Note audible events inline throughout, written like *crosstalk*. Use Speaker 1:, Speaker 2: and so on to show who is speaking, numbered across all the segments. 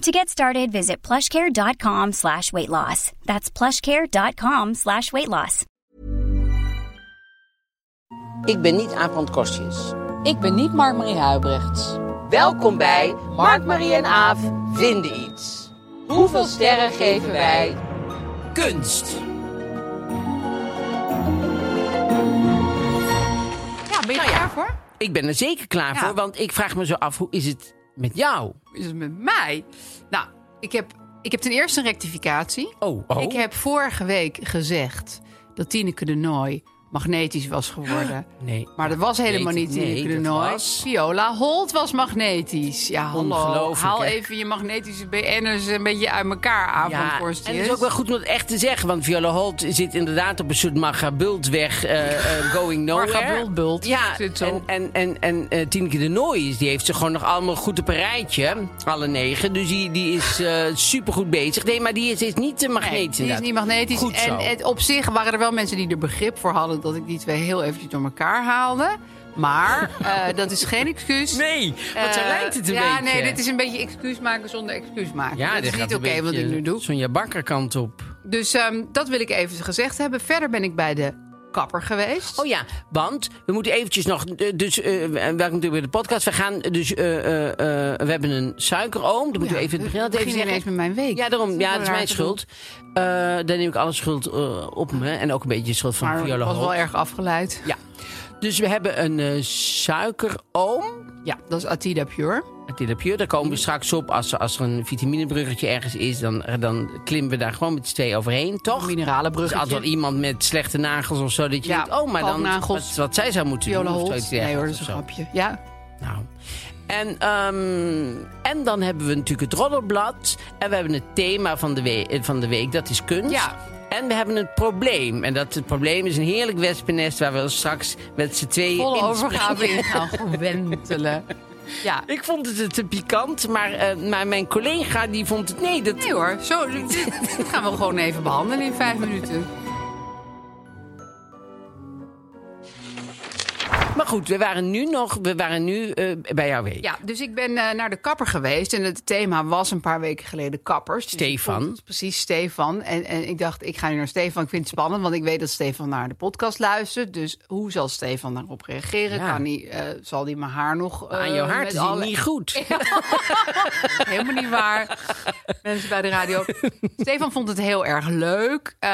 Speaker 1: To get started, visit plushcare.com slash weight loss. That's plushcare.com slash weight loss.
Speaker 2: Ik ben niet Aaf van het Kostjes.
Speaker 3: Ik ben niet Mark-Marie Huibrechts.
Speaker 2: Welkom bij Mark, Marie en Aaf vinden iets. Hoeveel sterren geven wij kunst?
Speaker 3: Ja, ben je
Speaker 2: Nou ja.
Speaker 3: klaar voor?
Speaker 2: Ik ben er zeker klaar
Speaker 3: Ja.
Speaker 2: voor, want ik vraag me zo af, hoe is het met jou?
Speaker 3: Is het met mij? Nou, ik heb, ik heb ten eerste een rectificatie.
Speaker 2: Oh, oh.
Speaker 3: Ik heb vorige week gezegd dat Tineke de Nooi magnetisch was geworden.
Speaker 2: *gasps* Nee.
Speaker 3: Maar dat was helemaal
Speaker 2: weet ik
Speaker 3: niet Tineke
Speaker 2: niet,
Speaker 3: de
Speaker 2: dat
Speaker 3: Nooi.
Speaker 2: was-
Speaker 3: Viola Holt was magnetisch. Ja, hallo.
Speaker 2: Ongelooflijk,
Speaker 3: Haal
Speaker 2: hè?
Speaker 3: even je magnetische BN'ers een beetje uit elkaar aan
Speaker 2: Ja,
Speaker 3: van
Speaker 2: en
Speaker 3: Korstjes.
Speaker 2: het is ook wel goed om het echt te zeggen, want Viola Holt zit inderdaad op een soort magabultweg eh, eh,
Speaker 3: *laughs*
Speaker 2: going nowhere.
Speaker 3: Magabultbult
Speaker 2: Ja,
Speaker 3: zit ze
Speaker 2: en,
Speaker 3: op.
Speaker 2: en, en, en eh, Tineke de Nooi, is- die heeft ze gewoon nog allemaal goed op een rijtje, alle negen. Dus die, die is super supergoed bezig. Nee, maar die is, is niet te magnetisch
Speaker 3: Nee, die is
Speaker 2: inderdaad.
Speaker 3: niet magnetisch.
Speaker 2: Goed zo.
Speaker 3: en het, op zich waren er wel mensen die er begrip voor hadden dat ik die twee heel eventjes door elkaar haalde. Maar *laughs* eh, dat is geen excuus.
Speaker 2: Nee, want zo
Speaker 3: Eh,
Speaker 2: lijkt het een
Speaker 3: ja,
Speaker 2: beetje.
Speaker 3: nee, dit is een beetje excuus maken zonder excuus maken.
Speaker 2: Ja,
Speaker 3: dat
Speaker 2: dit
Speaker 3: is
Speaker 2: gaat
Speaker 3: niet
Speaker 2: een
Speaker 3: oké wat ik
Speaker 2: beetje
Speaker 3: nu doe.
Speaker 2: Sonja Bakker kant op.
Speaker 3: Dus ehm, dat wil ik even gezegd hebben. Verder ben ik bij de kapper geweest.
Speaker 2: Oh ja, want we moeten eventjes nog... eh, Dus, eh, welkom natuurlijk bij de podcast. We gaan eh, dus... eh, eh, eh, we hebben een suikeroom. Dan moeten we even het begin,
Speaker 3: Ik
Speaker 2: altijd even
Speaker 3: begin
Speaker 2: zeggen.
Speaker 3: ineens met mijn week.
Speaker 2: Ja,
Speaker 3: Dat
Speaker 2: daarom.
Speaker 3: is
Speaker 2: Ja, dat is
Speaker 3: wel
Speaker 2: mijn
Speaker 3: raar
Speaker 2: schuld. Eh, daar neem ik alle schuld eh, op me. En ook een beetje de schuld van
Speaker 3: Maar ik
Speaker 2: Viola
Speaker 3: was
Speaker 2: Holt.
Speaker 3: wel erg afgeleid.
Speaker 2: Ja. Dus we hebben een eh, suikeroom.
Speaker 3: Ja, dat is Atida Pure.
Speaker 2: Het Tilapje, daar komen we straks op. Als, als er een vitaminebruggetje ergens is, dan, dan klimmen we daar gewoon met z'n twee overheen, toch? Dus
Speaker 3: Mineralenbrug.
Speaker 2: altijd wel iemand met slechte nagels of zo. Dat je
Speaker 3: Ja,
Speaker 2: denkt, oh, maar dan
Speaker 3: kalknagels.
Speaker 2: wat, wat zij zou moeten
Speaker 3: Viola
Speaker 2: doen. of
Speaker 3: Holt.
Speaker 2: zoiets
Speaker 3: Nee hoor,
Speaker 2: dergelijks
Speaker 3: dat is een
Speaker 2: of zo.
Speaker 3: grapje. Ja,
Speaker 2: Nou. En, ehm, en dan hebben we natuurlijk het roddelblad. En we hebben het thema van de, we- eh, van de week, dat is kunst.
Speaker 3: Ja.
Speaker 2: En we hebben het probleem. En dat het probleem is een heerlijk wespennest... waar we straks met z'n tweeën
Speaker 3: volle
Speaker 2: in
Speaker 3: overgave
Speaker 2: springen.
Speaker 3: in
Speaker 2: *laughs*
Speaker 3: gaan wentelen. Ja.
Speaker 2: Ik vond het eh, te pikant, maar, eh, maar mijn collega die vond het... Nee, dat,
Speaker 3: Nee hoor, zo, dit, dit gaan we gewoon even behandelen in vijf minuten.
Speaker 2: Maar goed, we waren nu nog we waren nu, eh, bij jouw week.
Speaker 3: Ja, dus ik ben eh, naar de kapper geweest. En het thema was een paar weken geleden kappers. Dus ik
Speaker 2: Stefan.
Speaker 3: vond het precies, Stefan. En, en ik dacht, ik ga nu naar Stefan. Ik vind het spannend, want ik weet dat Stefan naar de podcast luistert. Dus hoe zal Stefan daarop reageren?
Speaker 2: Ja.
Speaker 3: Kan hij, eh, zal hij mijn haar nog...
Speaker 2: Aan
Speaker 3: eh,
Speaker 2: jouw haar
Speaker 3: met
Speaker 2: is het
Speaker 3: alle-
Speaker 2: niet
Speaker 3: *laughs*
Speaker 2: goed.
Speaker 3: Helemaal niet waar. Mensen bij de radio. Stefan vond het heel erg leuk. Ehm,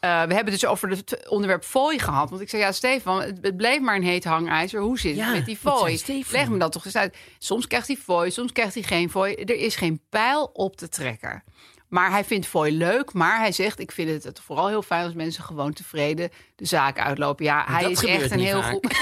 Speaker 3: eh, we hebben dus over het onderwerp fooi gehad. Want ik zei, ja, Stefan, het, het bleef maar een heet hangijzer. Hoe zit het
Speaker 2: Ja,
Speaker 3: met die
Speaker 2: wat
Speaker 3: fooi?
Speaker 2: zei Stefan?
Speaker 3: Leg me dat toch eens uit. Soms krijgt hij fooi, soms krijgt hij geen fooi. Er is geen pijl op te trekken. Maar hij vindt fooi leuk. Maar hij zegt, ik vind het vooral heel fijn als mensen gewoon tevreden de zaak uitlopen. Ja, hij
Speaker 2: dat
Speaker 3: is
Speaker 2: gebeurt
Speaker 3: echt een
Speaker 2: niet
Speaker 3: heel
Speaker 2: vaak.
Speaker 3: goed...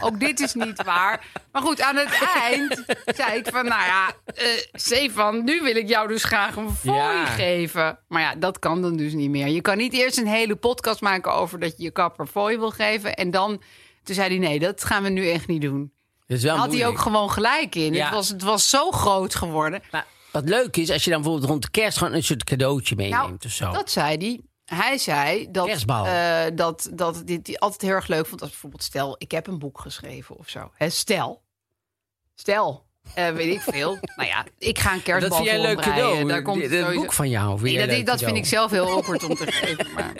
Speaker 3: Ook dit is niet waar. Maar goed, aan het eind zei ik van, nou ja, eh Stefan, nu wil ik jou dus graag een fooi
Speaker 2: Ja.
Speaker 3: geven. Maar ja, dat kan dan dus niet meer. Je kan niet eerst een hele podcast maken over dat je je kapper fooi wil geven. En dan, toen zei hij, nee, dat gaan we nu echt niet doen.
Speaker 2: Dat is wel
Speaker 3: Had hij
Speaker 2: moeilijk.
Speaker 3: ook gewoon gelijk in.
Speaker 2: Ja.
Speaker 3: Het, was, het was zo groot geworden.
Speaker 2: Maar wat leuk is, als je dan bijvoorbeeld rond de kerst gewoon een soort cadeautje meeneemt of zo.
Speaker 3: Nou, dat zei hij. Hij zei dat,
Speaker 2: Oh. Kerstbal.
Speaker 3: eh, dat, dat dit, die altijd heel erg leuk vond. Als bijvoorbeeld, stel, ik heb een boek geschreven of zo. Hè, stel. Stel. Eh, weet ik
Speaker 2: *laughs*
Speaker 3: veel. nou ja, ik ga een kerstbal
Speaker 2: Dat vind jij een
Speaker 3: voor
Speaker 2: leuk
Speaker 3: hem breien.
Speaker 2: cadeau.
Speaker 3: eh, Daar komt
Speaker 2: dat
Speaker 3: sowieso-
Speaker 2: boek van jou. Vind
Speaker 3: Nee,
Speaker 2: jij
Speaker 3: dat,
Speaker 2: leuk
Speaker 3: dat vind
Speaker 2: cadeau.
Speaker 3: ik zelf heel awkward om te geven.
Speaker 2: *laughs*
Speaker 3: Maar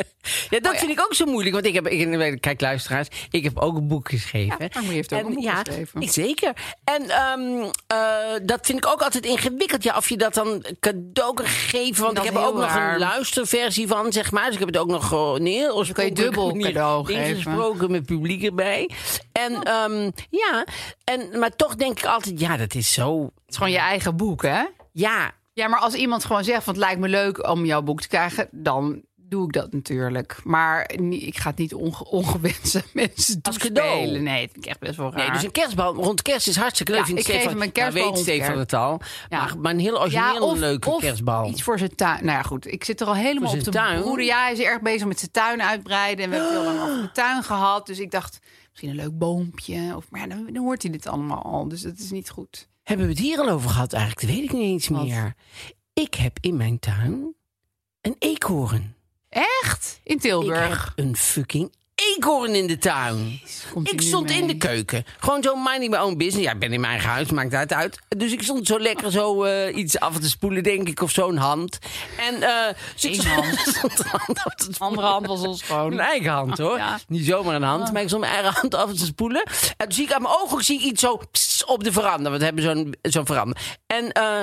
Speaker 2: Ja, dat
Speaker 3: Oh ja.
Speaker 2: vind ik ook zo moeilijk. Want ik heb, ik, kijk luisteraars, ik heb ook een boek geschreven.
Speaker 3: Ja, Harmonie heeft ook een boek geschreven.
Speaker 2: ik- zeker. En ehm, eh, dat vind ik ook altijd ingewikkeld. Ja, of je dat dan cadeau kan geven. Want
Speaker 3: Dat
Speaker 2: ik heb
Speaker 3: is
Speaker 2: er
Speaker 3: heel
Speaker 2: ook nog
Speaker 3: raar.
Speaker 2: een luisterversie van, zeg maar. Dus ik heb het ook nog gewoon heel oorspronkelijk
Speaker 3: dubbel
Speaker 2: manier
Speaker 3: cadeau geven.
Speaker 2: ingesproken met publiek erbij. En ehm, ja, en, maar toch denk ik altijd, ja, dat is zo.
Speaker 3: het is gewoon je eigen boek, hè?
Speaker 2: Ja,
Speaker 3: Ja, maar als iemand gewoon zegt: van, Het lijkt me leuk om jouw boek te krijgen, dan doe ik dat natuurlijk. Maar ni- ik ga het niet onge *laughs* ongewenste mensen
Speaker 2: Als
Speaker 3: toespelen.
Speaker 2: cadeau.
Speaker 3: Nee, dat vind ik echt best wel raar.
Speaker 2: Nee, dus een kerstbal rond kerst is hartstikke leuk.
Speaker 3: Ja,
Speaker 2: vindt
Speaker 3: ik geef
Speaker 2: Stefan.
Speaker 3: hem een
Speaker 2: Nou,
Speaker 3: kerstbal
Speaker 2: weet
Speaker 3: rond
Speaker 2: Stefan
Speaker 3: kerst.
Speaker 2: het al.
Speaker 3: Ja.
Speaker 2: Maar, maar een heel origineel leuke
Speaker 3: of
Speaker 2: kerstbal.
Speaker 3: iets voor zijn tuin. Nou ja, goed. Ik zit er al helemaal
Speaker 2: Voor
Speaker 3: op de
Speaker 2: zijn tuin?
Speaker 3: broeder. Ja, hij is erg bezig met zijn tuin uitbreiden. En we hebben het heel lang over de tuin gehad. Dus ik dacht, misschien een leuk boompje. Of, maar ja, dan, dan hoort hij dit allemaal al. Dus dat is niet goed.
Speaker 2: Hebben we het hier al over gehad eigenlijk? Dat weet ik niet eens
Speaker 3: Wat?
Speaker 2: meer. Ik heb in mijn tuin een eekhoorn.
Speaker 3: Echt? In
Speaker 2: Ik
Speaker 3: Tilburg.
Speaker 2: heb een fucking eekhoorn in de tuin.
Speaker 3: Komt hij
Speaker 2: Ik
Speaker 3: nu
Speaker 2: stond in
Speaker 3: mee?
Speaker 2: de keuken. Gewoon zo minding my own business. Ja, ik ben in mijn eigen huis, maakt dat uit. Dus ik stond zo lekker zo eh, iets af te spoelen, denk ik. Of zo'n hand. En eh dus ik
Speaker 3: Eén
Speaker 2: stond- *laughs*
Speaker 3: hand.
Speaker 2: stond de hand af te spoelen.
Speaker 3: Andere hand was ons gewoon.
Speaker 2: Mijn eigen hand hoor.
Speaker 3: Ja.
Speaker 2: Niet zomaar een hand, maar ik stond mijn eigen hand af te spoelen. En toen zie ik aan mijn ogen zie ik iets zo pss, op de veranda. Want we hebben zo'n zo'n veranda. En, eh,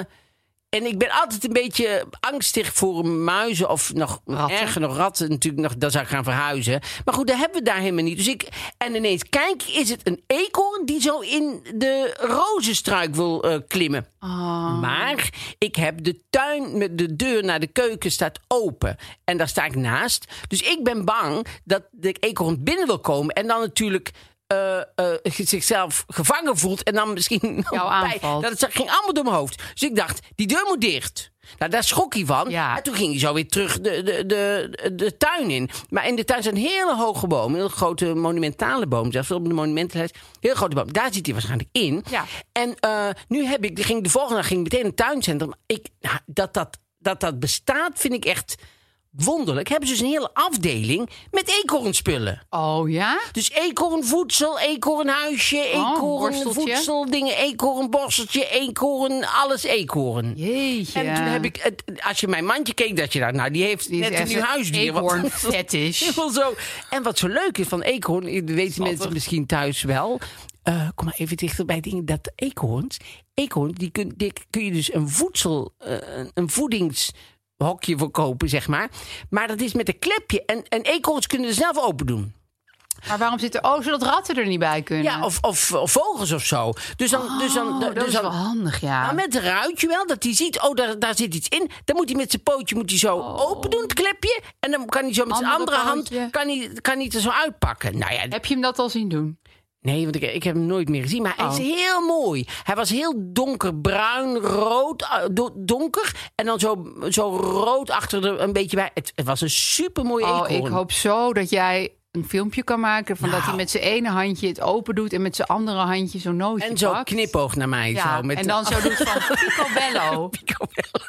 Speaker 2: en ik ben altijd een beetje angstig voor muizen of nog
Speaker 3: Ratten.
Speaker 2: erger nog ratten. Natuurlijk, nog, dan zou ik gaan verhuizen. Maar goed, dat hebben we daar helemaal niet. Dus ik, en ineens, kijk, is het een eekhoorn die zo in de rozenstruik wil eh, klimmen?
Speaker 3: Oh.
Speaker 2: Maar ik heb de tuin met de deur naar de keuken staat open. En daar sta ik naast. Dus ik ben bang dat de eekhoorn binnen wil komen. En dan natuurlijk eh, eh, zichzelf gevangen voelt. En dan *laughs* misschien
Speaker 3: Jou aanvalt.
Speaker 2: Dat het ging allemaal door mijn hoofd. Dus ik dacht, die deur moet dicht. Nou, daar schrok hij van.
Speaker 3: Ja.
Speaker 2: En toen ging hij zo weer terug de, de, de, de tuin in. Maar in de tuin zijn hele hoge bomen. Een heel grote monumentale boom. Zelfs op de monumentenlijst. Heel grote boom. Daar zit hij waarschijnlijk in.
Speaker 3: Ja.
Speaker 2: En eh, nu heb ik, die ging, de volgende dag ging ik meteen een tuincentrum. Ik, nou, dat, dat, dat dat bestaat vind ik echt wonderlijk. Hebben ze dus een hele afdeling met eekhoornspullen.
Speaker 3: Oh ja?
Speaker 2: Dus eekhoornvoedsel, eekhoornhuisje, eekhoornvoedsel,
Speaker 3: borsteltje.
Speaker 2: dingen, eekhoornborsteltje, eekhoorn, alles eekhoorn.
Speaker 3: Jeetje.
Speaker 2: En toen heb ik, het- als je mijn mandje keek, dat je dacht, nou die heeft
Speaker 3: Die is
Speaker 2: net een
Speaker 3: echt
Speaker 2: nieuw huisdier. want-
Speaker 3: eekhoorn fetish.
Speaker 2: *laughs* Helemaal zo. En wat zo leuk is van eekhoorn, dat weten mensen misschien thuis wel. Eh, kom maar even dichter bij dingen. Dat eekhoorns, eekhoorn, die kun, die kun je dus een voedsel, eh, een- een voedingshokje voor kopen, zeg maar. Maar dat is met een klepje. En, en eekhoorns kunnen het zelf open doen.
Speaker 3: Maar waarom zitten... Oh, zodat ratten er niet bij kunnen.
Speaker 2: Ja, of, of, of vogels of zo. Dus dan, dus dan,
Speaker 3: Oh, dat
Speaker 2: dus
Speaker 3: is
Speaker 2: dan,
Speaker 3: wel handig, ja.
Speaker 2: maar met een ruitje wel, dat hij ziet, oh, daar, daar zit iets in. Dan moet hij met zijn pootje moet hij zo open doen, het klepje. En dan kan hij zo met zijn
Speaker 3: Oh. Andere
Speaker 2: andere hand,
Speaker 3: pootje.
Speaker 2: kan hij, kan hij het er zo uitpakken. Nou ja,
Speaker 3: Heb je hem dat al zien doen?
Speaker 2: nee, want ik, ik heb hem nooit meer gezien. Maar hij is
Speaker 3: Oh.
Speaker 2: heel mooi. Hij was heel donkerbruin, rood, eh, do- donker. En dan zo, zo rood achter de, een beetje bij. Het, het was een supermooie
Speaker 3: Oh,
Speaker 2: eekhoorn. Nou.
Speaker 3: ik hoop zo dat jij een filmpje kan maken van dat hij met zijn ene handje het open doet en met zijn andere handje zo'n nootje
Speaker 2: En zo
Speaker 3: pakt.
Speaker 2: knipoog naar mij.
Speaker 3: Ja,
Speaker 2: zo, met
Speaker 3: en
Speaker 2: *laughs*
Speaker 3: dan zo doet van picobello.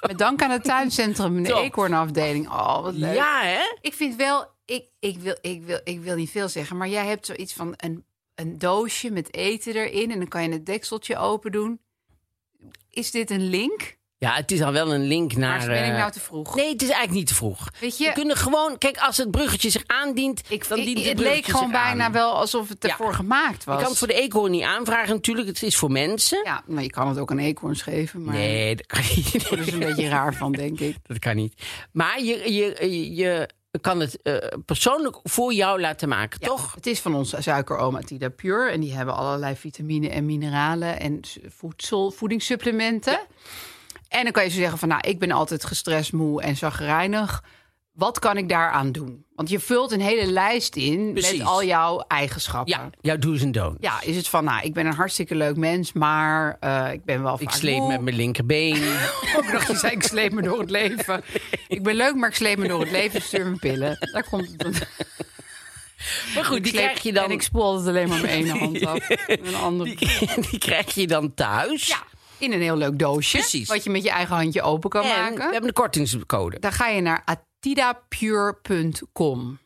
Speaker 3: Met dank aan het tuincentrum en de
Speaker 2: Top.
Speaker 3: eekhoornafdeling. Oh, wat leuk.
Speaker 2: Ja, hè?
Speaker 3: Ik vind wel, ik, ik, wil, ik, wil, ik wil niet veel zeggen, maar jij hebt zoiets van een, een doosje met eten erin en dan kan je het dekseltje open doen. Is dit een link?
Speaker 2: Ja, het is al wel een link naar...
Speaker 3: Maar ben ik
Speaker 2: eh,
Speaker 3: nou te vroeg?
Speaker 2: Nee, het is eigenlijk niet te vroeg.
Speaker 3: Weet je-
Speaker 2: We kunnen gewoon... Kijk, als het bruggetje zich aandient,
Speaker 3: ik,
Speaker 2: dan
Speaker 3: ik-
Speaker 2: dient het
Speaker 3: het
Speaker 2: bruggetje
Speaker 3: leek gewoon
Speaker 2: zich
Speaker 3: bijna
Speaker 2: aan.
Speaker 3: wel alsof het
Speaker 2: Ja.
Speaker 3: ervoor gemaakt was.
Speaker 2: Je kan het voor de eekhoorn niet aanvragen natuurlijk. Het is voor mensen.
Speaker 3: Ja, maar je kan het ook aan eekhoorns geven, maar
Speaker 2: Nee, dat kan niet. *laughs*
Speaker 3: daar is een beetje raar van, denk ik.
Speaker 2: Dat kan niet. Maar je, je, je kan het eh, persoonlijk voor jou laten maken, toch?
Speaker 3: Het is van onze suikeroma Tida Pure en die hebben allerlei vitamine en mineralen en s- voedsel, voedingssupplementen. En dan kan je zo zeggen van, nou, ik ben altijd gestrest, moe en zagrijnig. Wat kan ik daaraan doen? Want je vult een hele lijst in
Speaker 2: Precies.
Speaker 3: met al jouw eigenschappen.
Speaker 2: Ja, jouw do's en don'ts.
Speaker 3: Ja, is het van, nou, ik ben een hartstikke leuk mens, maar eh, ik ben wel vaak
Speaker 2: Ik sleep
Speaker 3: moe.
Speaker 2: met mijn
Speaker 3: *laughs*
Speaker 2: linkerbeen.
Speaker 3: Ook nog, je zei, ik sleep me door het
Speaker 2: *laughs*
Speaker 3: leven. Ik ben leuk, maar ik sleep me door het leven. Stuur me pillen. Daar komt het. dan. *laughs*
Speaker 2: maar goed,
Speaker 3: Ik
Speaker 2: die
Speaker 3: sleep-
Speaker 2: krijg je dan... *laughs*
Speaker 3: En ik spoel altijd alleen maar mijn ene hand af. en Een andere.
Speaker 2: Die krijg je dan thuis.
Speaker 3: Ja, in een heel leuk doosje.
Speaker 2: Precies.
Speaker 3: Wat je met je eigen handje open kan
Speaker 2: En we
Speaker 3: maken.
Speaker 2: hebben een kortingscode.
Speaker 3: Dan ga je naar atidapure.com.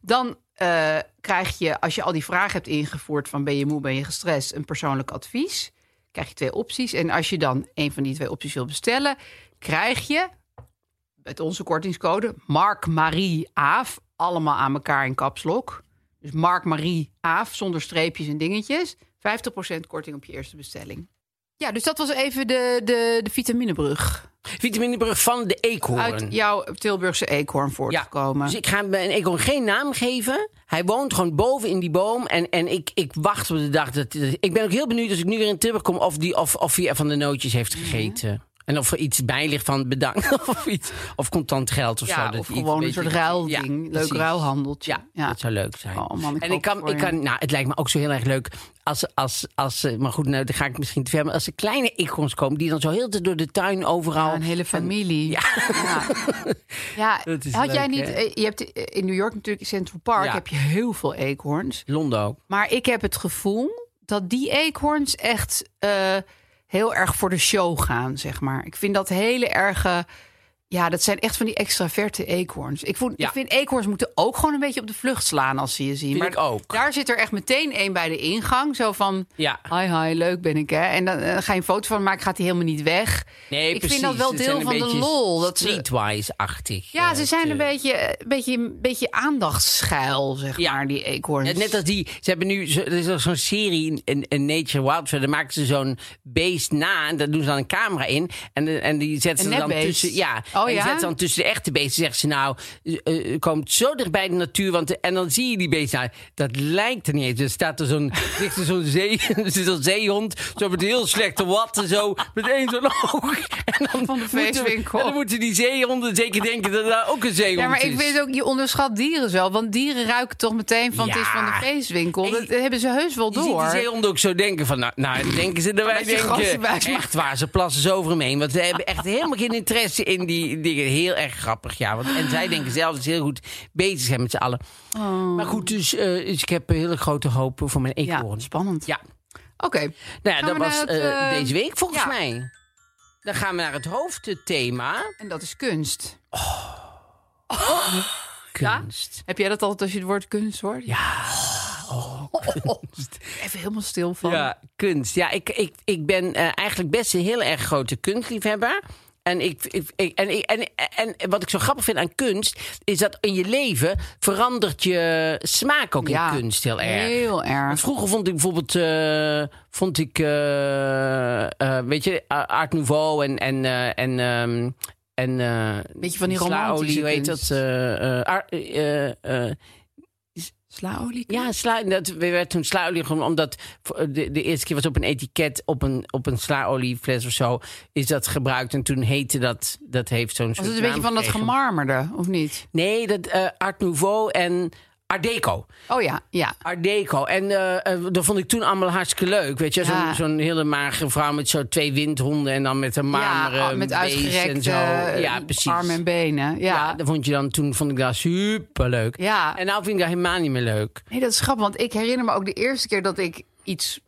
Speaker 3: Dan eh, krijg je, als je al die vragen hebt ingevoerd van ben je moe, ben je gestrest, een persoonlijk advies. krijg je twee opties. En als je dan een van die twee opties wil bestellen, krijg je met onze kortingscode Mark Marie Aaf. Allemaal aan elkaar in kapslok. Dus Mark Marie Aaf zonder streepjes en dingetjes. 50% korting op je eerste bestelling. Ja, dus dat was even de, de, de vitaminebrug.
Speaker 2: Vitaminebrug van de eekhoorn.
Speaker 3: Uit jouw Tilburgse eekhoorn voortgekomen.
Speaker 2: Dus ik ga hem- en ik kon geen naam geven. Hij woont gewoon boven in die boom. En, en ik, ik wacht op de dag. Dat, dat- ik ben ook heel benieuwd als ik nu weer in Tilburg kom. of, die, of, of hij van de nootjes heeft
Speaker 3: Mhm.
Speaker 2: gegeten. En of er iets bij ligt van bedankt. *laughs* of, iets, of contant geld of zo.
Speaker 3: ja,
Speaker 2: dat
Speaker 3: of
Speaker 2: hij iets
Speaker 3: gewoon een
Speaker 2: beetje-
Speaker 3: soort ruilding.
Speaker 2: Ja,
Speaker 3: Leuk
Speaker 2: precies.
Speaker 3: ruilhandeltje.
Speaker 2: Ja, dat zou leuk zijn.
Speaker 3: Oh man, ik
Speaker 2: en
Speaker 3: hoop
Speaker 2: ik kan,
Speaker 3: voor
Speaker 2: ik
Speaker 3: je.
Speaker 2: kan, nou, het lijkt me ook zo heel erg leuk als, als, als eh, maar goed, nou, dan ga ik misschien te ver. Maar als er kleine eekhoorns komen, die dan zo heel de tijd door de tuin overal.
Speaker 3: Ja, een hele familie.
Speaker 2: Ja. *laughs*
Speaker 3: Ja, Ja,
Speaker 2: Dat is
Speaker 3: had
Speaker 2: leuk,
Speaker 3: jij niet...
Speaker 2: hè?
Speaker 3: eh, Je hebt eh, in New York natuurlijk in Central Park
Speaker 2: Ja.
Speaker 3: heb je heel veel eekhoorns.
Speaker 2: Londen ook.
Speaker 3: Maar ik heb het gevoel dat die eekhoorns echt eh, heel erg voor de show gaan, zeg maar. Ik vind dat hele erge... Ja, dat zijn echt van die extraverte eekhoorns. Ik, voel,
Speaker 2: Ja.
Speaker 3: ik vind eekhoorns moeten ook gewoon een beetje op de vlucht slaan als ze je zien.
Speaker 2: Vind ik ook.
Speaker 3: daar zit er echt meteen één bij de ingang. Zo van,
Speaker 2: Ja.
Speaker 3: hi hi, leuk ben ik hè. En dan eh, ga je een foto van maken, gaat hij helemaal niet weg.
Speaker 2: Nee,
Speaker 3: ik
Speaker 2: precies.
Speaker 3: vind dat wel
Speaker 2: Het zijn
Speaker 3: deel
Speaker 2: een
Speaker 3: van de
Speaker 2: beetje
Speaker 3: lol. Dat ze,
Speaker 2: Streetwise-achtig.
Speaker 3: ja,
Speaker 2: eh,
Speaker 3: ze zijn
Speaker 2: te-
Speaker 3: een beetje, een beetje, een beetje aandachtschuil, zeg
Speaker 2: Ja.
Speaker 3: maar, die eekhoorns.
Speaker 2: Ja, Net als die, ze hebben nu, zo- er is al zo'n serie in, in Nature Wildfire, daar maken ze zo'n beest na en daar doen ze dan een camera in en, en die zetten
Speaker 3: Een
Speaker 2: ze dan
Speaker 3: nepbeest.
Speaker 2: tussen, ja,
Speaker 3: Oh,
Speaker 2: en die
Speaker 3: ja?
Speaker 2: zetten ze dan tussen de echte beesten. Zeggen ze nou, eh, eh, komt zo dicht bij de natuur, want de- en dan zie je die beesten. Nou, dat lijkt er niet eens. Er staat er zo'n, *laughs* ligt er zo'n zee, *laughs* er zit zo'n zeehond, zo met heel slechte watten, zo met één zo'n *laughs* oog. En dan
Speaker 3: Van de
Speaker 2: moeten-
Speaker 3: feestwinkel.
Speaker 2: en dan moeten die zeehonden zeker denken dat daar ook een zeehond
Speaker 3: Ja, maar
Speaker 2: is.
Speaker 3: ik weet ook, je onderschat dieren zo. Want dieren ruiken toch meteen van het is van de
Speaker 2: Ja.
Speaker 3: feestwinkel. Dat eh,
Speaker 2: En je-
Speaker 3: hebben ze heus wel
Speaker 2: Je ziet dus
Speaker 3: door.
Speaker 2: die zeehonden ook zo denken van, nou, nou denken ze dat wij
Speaker 3: Met die gasten
Speaker 2: denken,
Speaker 3: bij ze.
Speaker 2: echt waar, ze plassen zo over hem heen. Want ze hebben echt helemaal geen interesse in die dingen. Heel erg grappig, ja. Want, en zij denken zelf dat ze heel goed bezig zijn met z'n allen. Maar goed, dus, eh, dus ik heb een hele grote hoop voor mijn
Speaker 3: Oh. Ja,
Speaker 2: eekhoorn.
Speaker 3: spannend.
Speaker 2: Ja.
Speaker 3: Oké,
Speaker 2: Nou ja,
Speaker 3: Gaan
Speaker 2: dat
Speaker 3: we naar
Speaker 2: was
Speaker 3: het,
Speaker 2: eh,
Speaker 3: eh,
Speaker 2: deze week volgens
Speaker 3: ja.
Speaker 2: mij. Dan gaan we naar het hoofdthema.
Speaker 3: en dat is kunst. Ja?
Speaker 2: Kunst.
Speaker 3: Heb jij dat altijd als je het woord kunst hoort? Ja. *laughs* Oh. Even helemaal stil van.
Speaker 2: Ja, kunst. Ja, ik, ik, ik ben eh, eigenlijk best een heel erg grote kunstliefhebber. En, ik, ik, ik- en, ik- en, en, en wat ik zo grappig vind aan kunst, is dat in je leven verandert je smaak ook
Speaker 3: Ja,
Speaker 2: in kunst heel erg.
Speaker 3: Heel
Speaker 2: Want
Speaker 3: erg.
Speaker 2: Vroeger vond ik bijvoorbeeld, eh, vond ik, eh, eh, weet je, A- Art Nouveau en, en, eh, en, ehm, en eh,
Speaker 3: Beetje van die
Speaker 2: Slaouli,
Speaker 3: romantische
Speaker 2: hoe heet
Speaker 3: kunst.
Speaker 2: dat? eh, eh, Ar- eh, eh,
Speaker 3: Slaolie?
Speaker 2: ja, sla, dat werd toen slaolie gewoon omdat voor- de, de eerste keer was op een etiket op een, op een slaoliefles of zo is dat gebruikt en toen heette dat dat heeft zo'n
Speaker 3: Was
Speaker 2: soort
Speaker 3: het een beetje
Speaker 2: naam
Speaker 3: van dat
Speaker 2: gekregen.
Speaker 3: gemarmerde, of niet?
Speaker 2: Nee, dat eh, Art Nouveau en Art Deco.
Speaker 3: Oh ja, ja.
Speaker 2: Art Deco. En eh, eh, dat vond ik toen allemaal hartstikke leuk. Weet je, zo'n
Speaker 3: Ja.
Speaker 2: zo'n hele magere vrouw met zo twee windhonden en dan met een marmeren
Speaker 3: ja, ah, met
Speaker 2: beest en
Speaker 3: uitgerekte
Speaker 2: zo.
Speaker 3: eh,
Speaker 2: ja, precies.
Speaker 3: armen en benen.
Speaker 2: ja,
Speaker 3: Ja.
Speaker 2: dat vond je dan toen vond ik dat super leuk.
Speaker 3: ja.
Speaker 2: En nou vind ik dat helemaal niet meer leuk.
Speaker 3: Nee, dat is grappig, want ik herinner me ook de eerste keer dat ik iets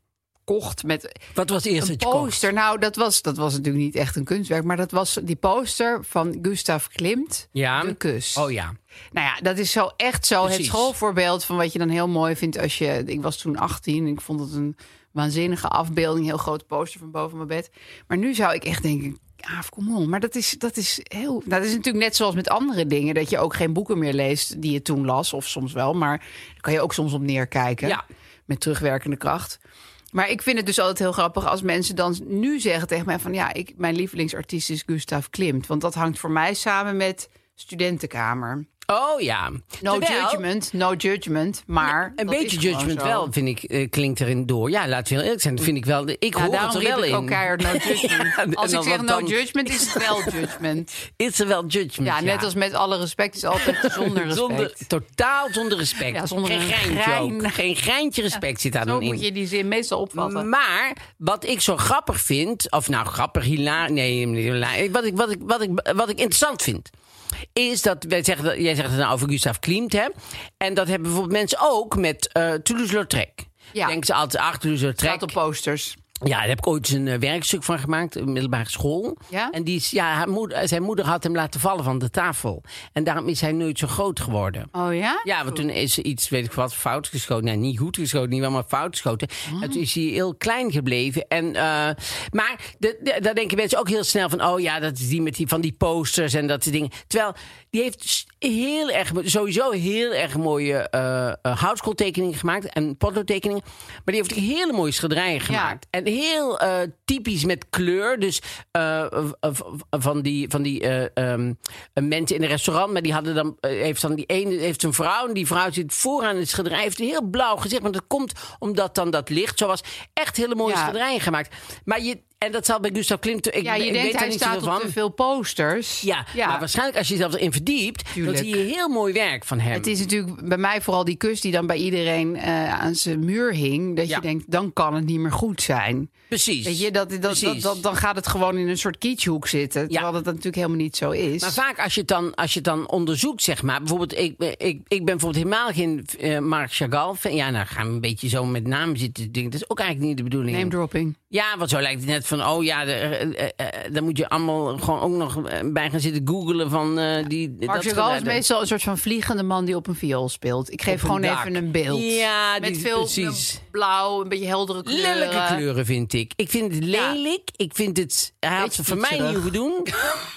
Speaker 3: kocht met
Speaker 2: Wat was het eerste
Speaker 3: een
Speaker 2: dat je kocht?
Speaker 3: poster. Nou, dat was, dat was natuurlijk niet echt een kunstwerk, maar dat was die poster van Gustav Klimt,
Speaker 2: Ja.
Speaker 3: De Kus.
Speaker 2: Oh ja.
Speaker 3: Nou ja, dat is zo echt zo het
Speaker 2: Precies.
Speaker 3: schoolvoorbeeld van wat je dan heel mooi vindt als je... Ik was toen 18 en ik vond het een waanzinnige afbeelding, een heel groot poster van boven mijn bed. Maar nu zou ik echt denken, ah, kom on. Maar dat is, dat is heel... nou, dat is natuurlijk net zoals met andere dingen, dat je ook geen boeken meer leest die je toen las, of soms wel. Maar daar kan je ook soms op neerkijken
Speaker 2: Ja.
Speaker 3: met terugwerkende kracht. Maar ik vind het dus altijd heel grappig als mensen dan nu zeggen tegen mij van ja, ik, mijn lievelingsartiest is Gustav Klimt. Want dat hangt voor mij samen met studentenkamer.
Speaker 2: Oh ja. No
Speaker 3: No judgment, no judgment, maar...
Speaker 2: Een
Speaker 3: dat
Speaker 2: beetje
Speaker 3: is gewoon
Speaker 2: judgment
Speaker 3: zo.
Speaker 2: wel, vind ik, eh, klinkt erin door. Ja, laten we heel eerlijk zijn. Dat vind ik wel. Ik
Speaker 3: Ja,
Speaker 2: hoor
Speaker 3: daarom
Speaker 2: het er
Speaker 3: riep
Speaker 2: wel
Speaker 3: ik
Speaker 2: in.
Speaker 3: ook
Speaker 2: *laughs*
Speaker 3: keihard no judgment.
Speaker 2: en
Speaker 3: Als ik
Speaker 2: dan-
Speaker 3: zeg
Speaker 2: want
Speaker 3: no
Speaker 2: dan
Speaker 3: judgment, is het
Speaker 2: *laughs*
Speaker 3: wel judgment.
Speaker 2: Is er wel judgment?
Speaker 3: Ja, net als met alle respect is
Speaker 2: *laughs*
Speaker 3: altijd zonder respect.
Speaker 2: Zonder, totaal zonder respect.
Speaker 3: Ja, zonder
Speaker 2: Geen
Speaker 3: een
Speaker 2: greintje
Speaker 3: grein.
Speaker 2: ook. Geen greintje respect zit daar
Speaker 3: Zo
Speaker 2: dan in.
Speaker 3: moet je die zin meestal opvatten.
Speaker 2: Maar wat ik zo grappig vind, of nou grappig, hilar, nee, niet hilar- wat ik, wat, ik, wat, ik, wat ik interessant vind, is dat wij zeggen, dat- jij zegt het nou over Gustav Klimt, hè? En dat hebben bijvoorbeeld mensen ook met eh Toulouse-Lautrec.
Speaker 3: Ja.
Speaker 2: Denken ze altijd, ach, Toulouse-Lautrec.
Speaker 3: Staat op posters.
Speaker 2: Ja, daar heb ik ooit eens een eh, werkstuk van gemaakt, een middelbare school.
Speaker 3: Ja?
Speaker 2: En die is, ja, haar moeder, zijn moeder had hem laten vallen van de tafel. En daarom is hij nooit zo groot geworden.
Speaker 3: Oh ja?
Speaker 2: Ja, want toen is er iets, weet ik wat, fout geschoten. Nee, niet goed geschoten, niet wel, maar fout geschoten. En toen is hij heel klein gebleven. En, eh, maar de, de- daar denken mensen ook heel snel van... oh ja, dat is die met die van die posters en dat soort dingen. Terwijl, die heeft s- heel erg, sowieso heel erg mooie eh eh, houtskooltekeningen gemaakt... en potloodtekeningen. Maar die heeft ook hele mooie schilderijen gemaakt. En heel eh, typisch met kleur. Dus eh, v- v- van die, van die eh, ehm, mensen in een restaurant. Maar die hadden dan, eh, heeft dan die ene heeft een vrouw. En die vrouw zit vooraan in het schilderij. Heeft een heel blauw gezicht. Maar dat komt omdat dan dat licht zo was. Echt hele mooie
Speaker 3: Ja.
Speaker 2: schilderijen gemaakt. Maar je, en dat zal bij Gustav Klimt. Ik,
Speaker 3: Ja, je
Speaker 2: ik weet
Speaker 3: denkt
Speaker 2: daar
Speaker 3: hij
Speaker 2: niet
Speaker 3: staat
Speaker 2: zoveel
Speaker 3: op
Speaker 2: van.
Speaker 3: te veel posters.
Speaker 2: Ja, maar waarschijnlijk als je zelf erin verdiept,
Speaker 3: Tuurlijk.
Speaker 2: dan zie je heel mooi werk van hem.
Speaker 3: Het is natuurlijk bij mij vooral die kus die dan bij iedereen eh, aan zijn muur hing. Dat
Speaker 2: Ja.
Speaker 3: je denkt, dan kan het niet meer goed zijn.
Speaker 2: Precies.
Speaker 3: Weet je, dat, dat, dat,
Speaker 2: Precies.
Speaker 3: dat- dan gaat het gewoon in een soort kietshoek zitten. Terwijl dat, dat natuurlijk helemaal niet zo is.
Speaker 2: Maar vaak als je het dan, als je het dan onderzoekt, zeg maar. Bijvoorbeeld, ik, ben- ik, ik ben bijvoorbeeld helemaal geen eh, Marc Chagall. fan. Ja, nou gaan we een beetje zo met naam zitten. te denken. Dat is ook eigenlijk niet de bedoeling.
Speaker 3: Name dropping.
Speaker 2: Ja, want zo lijkt het net van, oh ja, daar eh, eh, eh, daar moet je allemaal gewoon ook nog eh, bij gaan zitten googelen van eh, die...
Speaker 3: Mark
Speaker 2: dat
Speaker 3: Chagall is
Speaker 2: geluid.
Speaker 3: meestal een soort van vliegende man die op een viool speelt. Ik geef
Speaker 2: Op een
Speaker 3: gewoon
Speaker 2: dak.
Speaker 3: even een beeld.
Speaker 2: Ja,
Speaker 3: Met
Speaker 2: die-
Speaker 3: veel
Speaker 2: precies.
Speaker 3: blauw, een beetje heldere kleuren.
Speaker 2: Lelijke kleuren vind ik. Ik vind het
Speaker 3: Ja.
Speaker 2: lelijk. Ik vind het... Hij had
Speaker 3: Beetje
Speaker 2: ze voor mij niet
Speaker 3: pieterig.
Speaker 2: hoeven doen.